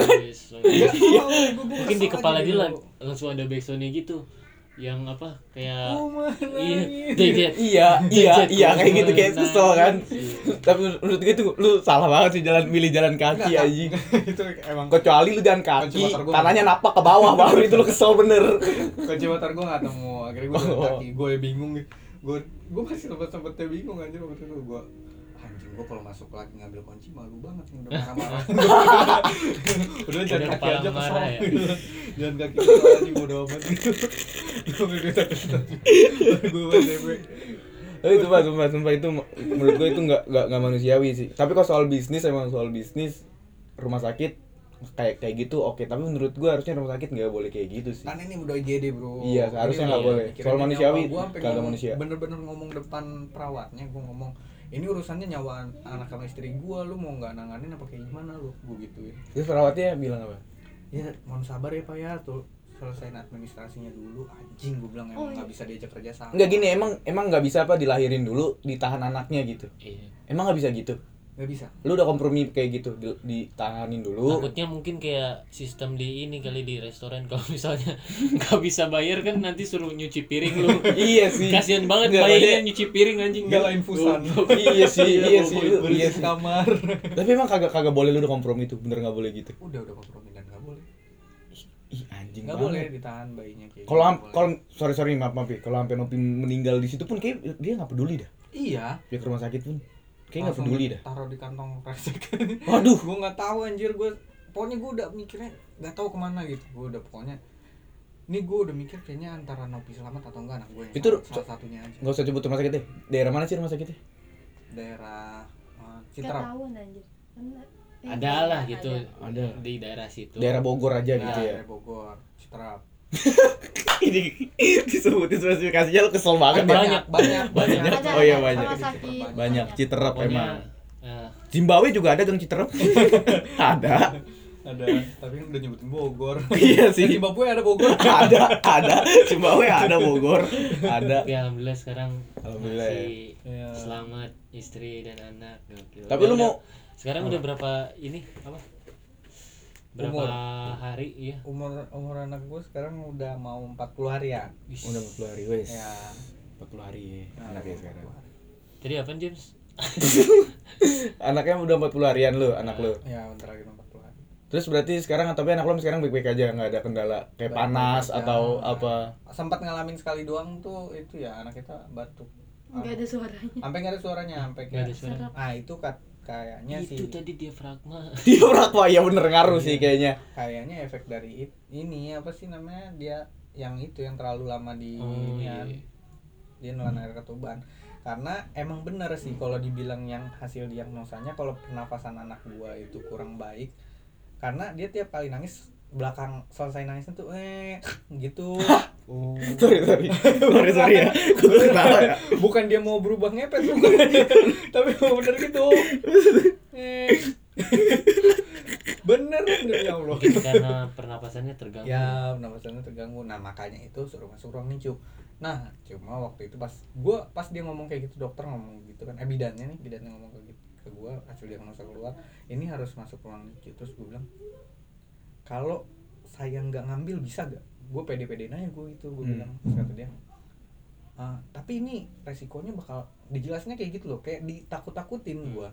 mungkin di Iya. kepala dia gitu. lang- langsung ada backsoundnya gitu yang apa kayak Oh iya jejet Iya, iya, Jejet, iya gua kayak gitu kayak nangis. kesel kan. Iya. Tapi menurut gue tuh lu salah banget sih jalan milih jalan kaki anjing. itu emang Kecuali lu jalan Kunci kaki, motor gua. tanahnya napak ke bawah baru itu lu kesel bener. kunci motor gue gak temu akhirnya gue Oh. kaki gue bingung gue gue masih sempet sempetnya bingung anjir waktu itu gue anjing gue kalau masuk lagi ngambil kunci malu banget nih udah marah-marah udah Udah jalan kaki kepala aja kesel marah ya? jalan kaki kesel aja bodo amat gitu gue Tapi itu sumpah, sumpah, sumpah itu menurut gue itu nggak nggak nggak manusiawi sih. Tapi kalau soal bisnis emang soal bisnis rumah sakit kayak kayak gitu oke tapi menurut gue harusnya rumah sakit nggak boleh kayak gitu sih kan ini udah IGD bro Iya, seharusnya nggak Ini boleh. mikirin Soal nyawa manusiawi, gua sampai kagak ngomong- manusia. bener-bener ngomong depan perawatnya gue ngomong ini urusannya nyawa anak sama istri gue lu mau nggak nanganin apa kayak gimana lu gue gituin terus perawatnya bilang apa ya mohon sabar ya pak ya tuh selesain administrasinya dulu anjing gue bilang emang Oh, iya. nggak bisa diajak kerja sama nggak gini emang emang nggak bisa apa dilahirin dulu ditahan anaknya gitu Iya. emang nggak bisa gitu nggak bisa lu udah kompromi kayak gitu di- ditahanin dulu takutnya mungkin kayak sistem di ini kali di restoran kalau misalnya nggak bisa bayar kan nanti suruh nyuci piring lu iya sih kasihan banget Nggak, bayinya maksudnya- nyuci piring anjing Nggak lah, infusan. iya sih iya sih lu- iya sih berisi kamar tapi emang kagak kagak boleh lu udah kompromi tuh bener nggak boleh gitu udah udah kompromi dan nggak boleh ih anjing nggak banget boleh ditahan bayinya kayak kalau gitu, am- nggak boleh. kalau sorry sorry maaf maaf ya kalau sampai Nopi meninggal di situ pun kayak dia nggak peduli dah iya dia ke rumah sakit pun kayak nggak langsung gitu. peduli dah taruh di kantong kresek Waduh. gue nggak tahu anjir gue pokoknya gue udah mikirnya nggak tahu kemana gitu gue udah pokoknya ini gue udah mikir kayaknya antara Nopi selamat atau enggak anak gue Itu salah satunya aja nggak usah sebut rumah sakit deh daerah mana sih rumah sakitnya daerah eh, Gak Citra tahu anjir. Bener. Iya, ada lah gitu Ada. di daerah situ daerah Bogor aja gitu ya daerah Iya, Bogor Citra ini disebutin spesifikasinya lu kesel banget ya banyak. banyak banyak, Ada, Oh iya, ada. banyak. Rumah sakit. banyak citerap pokoknya emang eh, Zimbabwe juga ada gang citerap ada ada tapi kan udah nyebutin Bogor Kan Iya sih. di Zimbabwe ada Bogor ada ada Zimbabwe ada Bogor ada tapi alhamdulillah sekarang Alhamdulillah, Iya. masih ya. selamat istri dan anak Gokil. Tapi Ya lu udah, mau- sekarang udah berapa ini apa berapa Umur. hari iya umur umur anak gue sekarang udah mau 40 hari ya Wis. udah 40 hari wes Ya. 40 hari Nah, anak ya sekarang jadi apa James anaknya udah 40 harian lu anak lu ya bentar lagi mau 40 hari terus berarti sekarang tapi anak lu sekarang baik-baik aja nggak ada kendala kayak Baik-baik panas aja. atau apa sempat ngalamin sekali doang tuh itu ya anak kita batuk Gak ada suaranya. sampai nggak ada suaranya sampai nggak kayak ada suara Gitu, ah itu kat- kayaknya Iya sih itu tadi diafragma dia berakwa ya bener ngaruh Iya. sih kayaknya kayaknya efek dari it- ini apa sih namanya dia yang itu yang terlalu lama di oh iya inian. dia nelan air ketuban karena emang bener sih kalau dibilang yang hasil diagnosanya kalau pernafasan anak gua itu kurang baik karena dia tiap kali nangis belakang selesai nangisnya tuh eh gitu sorry sorry sorry sorry ya gue ketawa ya bukan dia mau berubah ngepet bukan tapi emang bener gitu Eh. bener bener ya Allah mungkin karena pernapasannya terganggu ya pernapasannya terganggu nah makanya itu suruh masuk ruang nicu nah cuma waktu itu pas gua pas dia ngomong kayak gitu dokter ngomong gitu kan eh bidannya nih bidannya ngomong kayak gitu ke gua hasil diagnosa keluar ini harus masuk ruang nicu terus gua bilang kalau saya nggak ngambil bisa gak gue pede pede aja gue itu gue Hmm. bilang terus kata dia "Ah, tapi ini resikonya bakal dijelasinnya kayak gitu loh kayak ditakut-takutin gua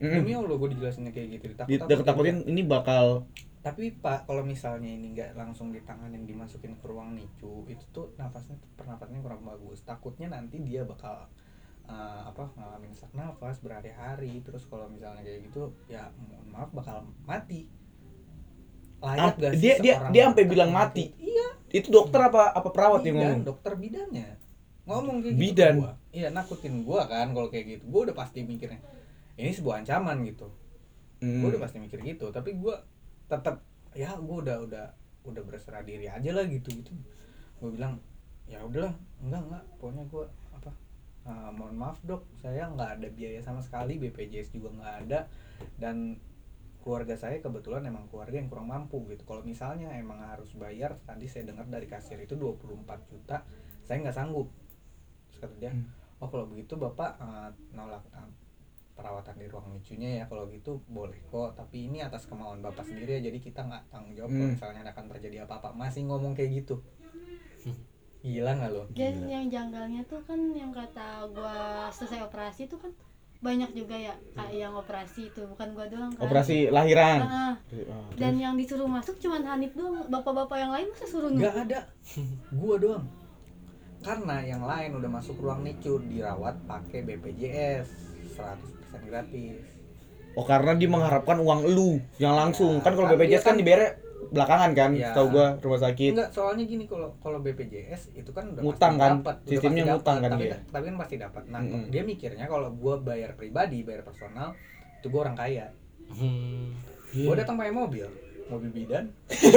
Mm-mm. demi allah gue dijelasinnya kayak gitu Hmm. Di- udah ketakutin ini bakal tapi pak kalau misalnya ini nggak langsung ditanganin dimasukin ke ruang nicu itu tuh nafasnya tuh pernafasannya kurang bagus takutnya nanti dia bakal eh, apa ngalamin sesak nafas berhari-hari terus kalau misalnya kayak gitu ya mohon maaf bakal mati Ah, layak gak sih dia dia seorang dia sampai dokter bilang untuk- mati iya itu dokter apa apa perawat yang bidan, ngomong dokter bidannya ngomong kayak gitu ke Bidan. gua. iya nakutin gua kan kalau kayak gitu gua udah pasti mikirnya ini sebuah ancaman gitu Hmm. gue udah pasti mikir gitu tapi gue tetap ya gue udah udah udah berserah diri aja lah gitu gitu gue bilang ya udahlah enggak enggak pokoknya gua apa "Ah, mohon maaf dok saya nggak ada biaya sama sekali BPJS juga nggak ada dan keluarga saya kebetulan emang keluarga yang kurang mampu gitu kalau misalnya emang harus bayar tadi saya dengar dari kasir itu 24 juta saya nggak sanggup Terus kata dia Hmm. oh kalau begitu bapak eh, nolak eh, perawatan di ruang lucunya ya kalau gitu boleh kok tapi ini atas kemauan bapak sendiri ya jadi kita nggak tanggung jawab kalau Hmm. misalnya akan terjadi apa-apa masih ngomong kayak gitu Hmm. gila nggak lo dan Gila. yang janggalnya tuh kan yang kata gua selesai operasi tuh kan banyak juga ya Hmm. kak yang operasi itu bukan gua doang kan Operasi lahiran. Ah, ah. Oh, terus? dan yang disuruh masuk cuman Hanif doang bapak-bapak yang lain masa suruh nggak nunggu ada gua doang karena yang lain udah masuk ruang nicu dirawat pakai BPJS 100% gratis Oh karena dia mengharapkan uang lu yang langsung. Kan kalau Kan BPJS dia kan- kan dibayar belakangan kan, Iya. tahu gua rumah sakit. Enggak, soalnya gini kalau kalau BPJS itu kan udah Ngutang kan? dapat, udah Sistemnya pasti ngutang dapat, kan tapi, dia? tapi kan pasti dapat. Nah, Mm-mm. dia mikirnya kalau gua bayar pribadi, bayar personal, itu gua orang kaya. Hmm. Iya. Gua datang pakai mobil, mobil bidan.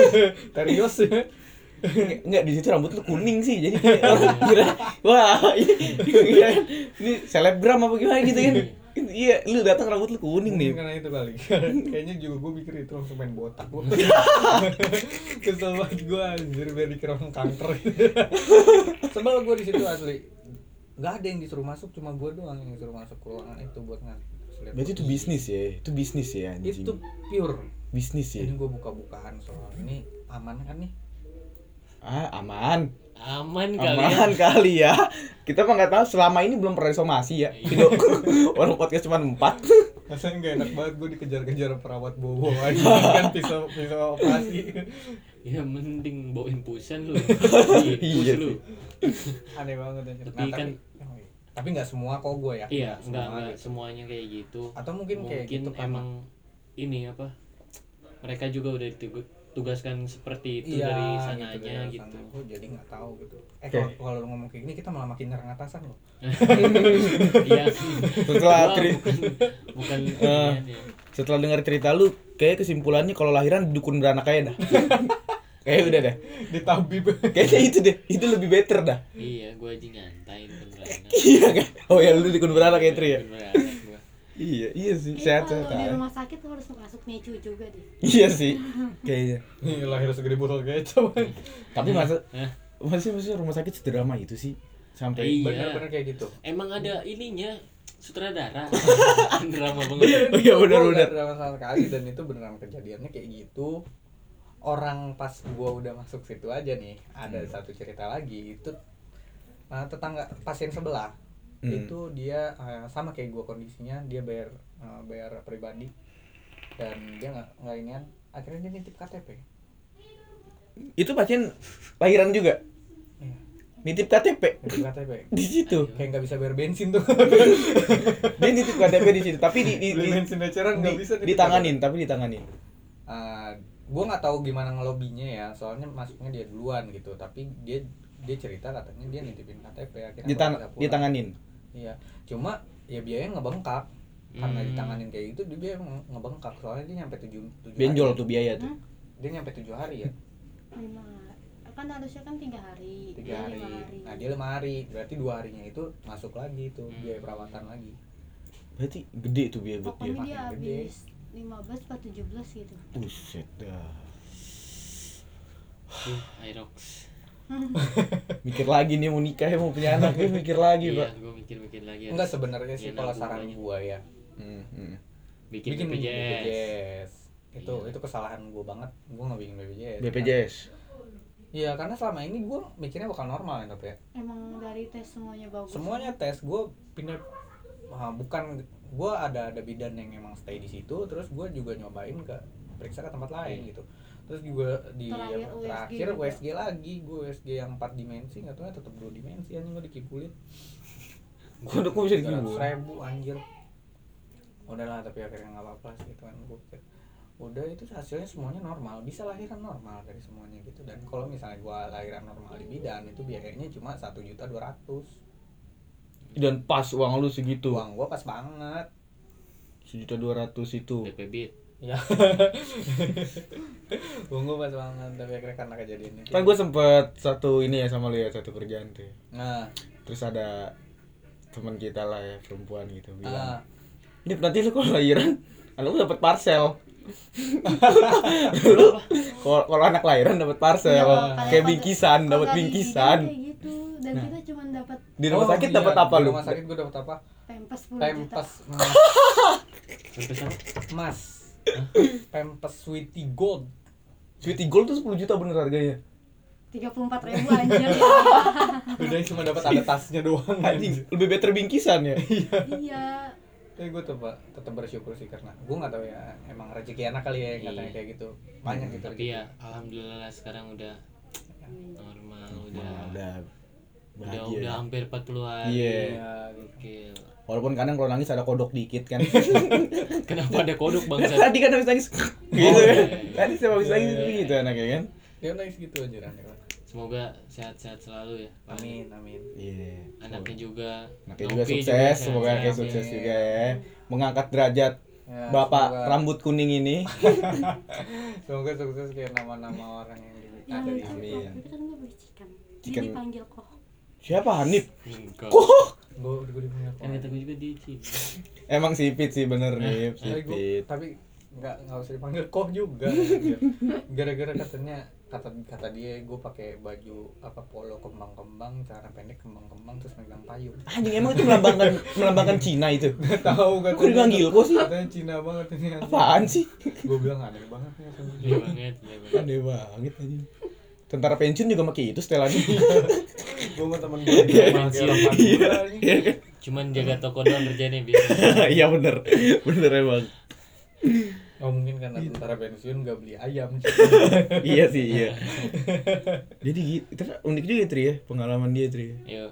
Serius? Enggak di situ rambut lu kuning sih, jadi kayak orang kira wah iya kan? ini selebgram apa gimana gitu kan? Iya, lu datang rambut lu kuning nih. Mungkin karena itu kali. Kayaknya juga gua mikir itu langsung main botak gua. Kesel banget gua anjir biar dikira orang kanker. Sebel gua di situ asli. Gak ada yang disuruh masuk, cuma gua doang yang disuruh masuk ke ruangan itu buat ngasih. Berarti itu bisnis ya, itu bisnis ya anjing. Itu pure bisnis ya. Ini gue buka-bukaan soal ini aman kan nih? Ah, aman. Aman kali ya. Aman kali ya. Kita mah nggak tahu selama ini belum pernah somasi ya. Video Iya, orang podcast cuma 4. Rasanya gak enak banget gue dikejar-kejar perawat bobo aja kan pisau pisau operasi. Ya mending bawain pusan lu. Iya Iya sih. lu. Aneh banget ya. Tapi Nah, kan- tapi, tapi nggak semua kok gue ya. Iya, enggak Nggak semua enggak gitu. semuanya kayak gitu. Atau mungkin, kayak Mungkin gitu kan. emang ini apa? Mereka juga udah ditugaskan seperti itu Iya, dari sananya dari gitu. sana. Gua jadi nggak tahu gitu. Eh Oke. kalau kalau lu ngomong kayak gini kita malah makin nyerang atasan loh. Iya. Setelah Gua tri- bukan, bukan Eh. ini ya. setelah dengar cerita lu, kayak kesimpulannya kalau lahiran dukun beranak aja dah. kayak udah deh. Di tabib. Kayaknya itu deh. Itu lebih better dah. Iya, gua aja nyantai beneran. Iya kan? Oh ya lu dukun beranak ya Tri ya? Beneran gua. Iya, iya sih. Eh, Sehat-sehat kalau di aja. rumah sakit harus masuk necu juga deh Iya sih. Kayaknya. Nih lahir segede botol kecap. Tapi masa Hah? masih masih rumah sakit sederama itu sih sampai Iya. Bener-bener kayak gitu. Emang ada ininya sutradara. Drama banget. Oh, iya benar benar. Gua nggak drama sama sekali dan itu beneran kejadiannya kayak gitu orang pas gua udah masuk situ aja nih ada satu cerita lagi itu nah, tetangga pasien sebelah Hmm. itu dia eh, sama kayak gua kondisinya dia bayar eh, bayar pribadi dan dia nggak nggak inian akhirnya dia nitip KTP Itu pasien lahiran juga. Iya, Nitip KTP nitip KTP di situ. kayak nggak bisa bayar bensin tuh Dia nitip KTP di situ, tapi di di, di, beli bensin eceran nggak di- bisa nitip ditanganin, tapi ditanganin. Uh, gue nggak tahu gimana ngelobinya ya soalnya masuknya dia duluan gitu tapi dia dia cerita katanya dia nitipin KTP akhirnya Ditang, bawa ke Singapura. ditanganin. iya cuma ya biayanya ngebengkak karena Hmm. ditanganin kayak gitu dia biaya nge- ngebengkak soalnya dia nyampe tujuh tujuh Benjol hari. tuh biaya tuh. dia nyampe tujuh hari ya lima kan harusnya kan tiga hari tiga ini hari lima nah dia lima hari berarti dua harinya itu masuk lagi itu biaya perawatan lagi Berarti gede tuh biaya buat dia. pokoknya dia makin gede. habis 15 atau 17 gitu Buset dah. Ih, Irox. Mikir lagi nih mau nikah ya, mau punya anak ya, mikir lagi, Iya, Pak. gua mikir-mikir lagi. enggak sebenarnya sih Iya, kalau saran nabungannya. gua ya Hmm, hmm. bikin, bikin BPJS, BPJS. itu Iya. itu kesalahan gua banget gua nggak bikin BPJS BPJS. Iya karena selama ini gue mikirnya bakal normal ya Nop, ya. emang dari tes semuanya bagus Semuanya tes gue pindah ah, bukan gue ada ada bidan yang emang stay di situ terus gue juga nyobain ke periksa ke tempat Iya. lain gitu terus juga di Terakhir yang USG terakhir juga. USG lagi gue USG yang 4 dimensi nggak tahu ya tetap dua dimensi anjing gue dikikulin Kok kok bisa gitu? ribu anjir udahlah tapi akhirnya nggak apa-apa sih gitu kan gue pikir udah itu hasilnya semuanya normal bisa lahiran normal dari semuanya gitu dan kalau misalnya gua lahiran normal di bidan itu biayanya cuma satu juta dua ratus Dan pas uang lu segitu. uang gua pas banget Iya. Sejuta dua ratus itu. BPBIT. Iya. ya Ungu pas banget tapi akhirnya karena kejadian itu Kan gue sempet satu ini ya sama lu ya satu kerjaan tuh. nah Terus ada teman kita lah ya perempuan gitu ah bilang. Ini nanti lu kalau lahiran, anak lu dapat parcel. Lu kalau kalau anak lahiran dapat parcel, Iya, kayak kalau- bingkisan, kalau dapat nggak bingkisan. dibidan kayak gitu dan Nah. kita cuma dapat Di rumah sakit dapat apa lu? Oh, iya. rumah sakit gue dapat apa pempes 10 juta pempes mas Sampai sana mas pempes sweetie gold Sweetie Gold tuh 10 juta bener harganya. 34 ribu anjir udah cuma dapat ada tasnya doang anjing Anjing, lebih better bingkisan ya. iya tapi gue tuh Pak, tetap bersyukur sih karena gue nggak tahu ya emang rezeki anak kali ya yang katanya Iya. kayak gitu banyak gitu Tapi ya alhamdulillah sekarang udah normal udah Nah, udah udah bahagia. udah ya. hampir 40 hari. Iya. Iya, gitu. Gokil. Walaupun kadang kalau nangis ada kodok dikit kan. Kenapa ada kodok bangsa? Tadi kan habis nangis gitu iya, kan. iya. Tadi siapa habis nangis Iya, iya, gitu anaknya kan. dia nangis gitu aja kan Semoga sehat-sehat selalu ya. Pak. amin amin Iya. Anaknya juga. Anaknya juga Nopi sukses, semoga sehat-sehat anaknya ya. sukses juga ya. Mengangkat derajat Ya, Bapak semoga- rambut kuning ini. semoga sukses kayak nama-nama orang yang di yang ada di itu sini Amin. itu kan gue beli chicken dia Chicken. dipanggil kok Siapa Hanif? Enggak. Kok gue gue dipanggil Kan kata gue juga di Cina. emang sipit sih bener nih, tapi gue sipit. tapi nggak nggak usah dipanggil koh juga gara-gara katanya kata kata dia gue pakai baju apa polo kembang-kembang cara pendek kembang-kembang terus megang payung Anjing emang itu melambangkan melambangkan Cina itu. tahu gak Kok dipanggil kok sih? katanya Cina banget ini Apaan sih? gue bilang aneh banget ya sama dia. Iya banget, iya banget. Aneh banget anjing. Tentara pensiun juga pakai itu setelannya. gue sama temen gue dia pakai Iya. ropan Iya. gua ini. Iya kan? Cuman jaga toko doang kerjanya biar. Iya bener. Bener emang. oh mungkin karena tentara pensiun gak beli ayam iya sih, iya. Jadi gitu. Terus unik juga Tri ya pengalaman dia Tri. Yo,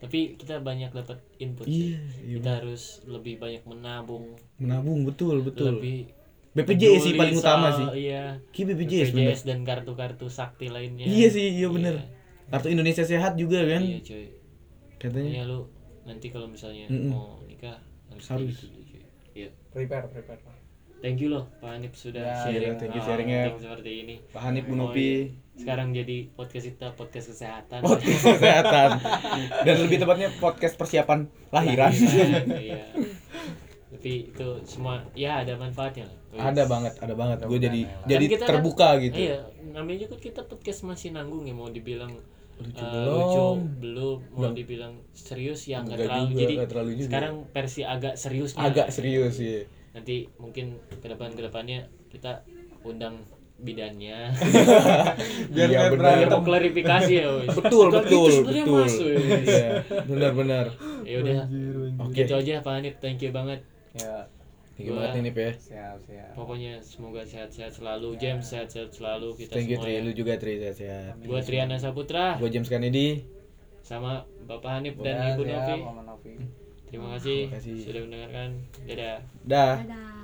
Tapi kita banyak dapat input sih. Iya, iya. Kita harus lebih banyak menabung, Menabung betul, betul. lebih BPJS sih peduli paling utama soal- sih. Iya. Ki BPJS, BPJS, bener. dan kartu-kartu sakti lainnya. Iya sih, iya bener. Kartu Indonesia Sehat juga Iya, kan iya cuy. katanya. Iya lu nanti kalau misalnya Mm-mm. mau nikah harus kayak Harus. gitu dulu, cuy. Iya. prepare prepare Thank you loh Pak Hanif sudah Ya, sharing. iya, thank you hal sharingnya. penting seperti ini. Pak Hanif Bu Oh, Nopi. iya. Sekarang jadi podcast kita podcast kesehatan. Podcast kesehatan. Dan lebih tepatnya podcast persiapan lahiran. iya. Tapi itu semua ya ada manfaatnya lah. ada banget, ada banget. Gue Mudah-mudahan jadi ya lah. jadi Kan kita kan- terbuka gitu. Iya, namanya juga kita podcast masih nanggung ya mau dibilang Lucu eh, belum. lucu belum, mau Belum. dibilang serius ya nggak Nggak terlalu. juga, Jadi nggak terlalu juga. sekarang versi agak serius. Agak serius sih. Nanti mungkin ke depan ke depannya kita undang bidannya. Iya, Biar kayak bener. Dia berantem. mau klarifikasi ya. wes. Betul, Suka gitu betul, sebenarnya, betul. Mas, wes. Iya, benar-benar. Ya udah. Oke. Gitu aja Pak Hanif, thank you banget. ya Thank you banget nih, Nip ya. siap siap Iya. Pokoknya semoga sehat-sehat selalu, James sehat-sehat selalu kita Iya. Thank you semua. Tri, ya. lu juga Tri sehat-sehat. Gua Triana Saputra Gue James Kennedy. sama Bapak Hanif dan Ya, Ibu siap, Novi. Mama Novi Terima kasih, Terima kasih. sudah mendengarkan. Dadah. Dah. dadah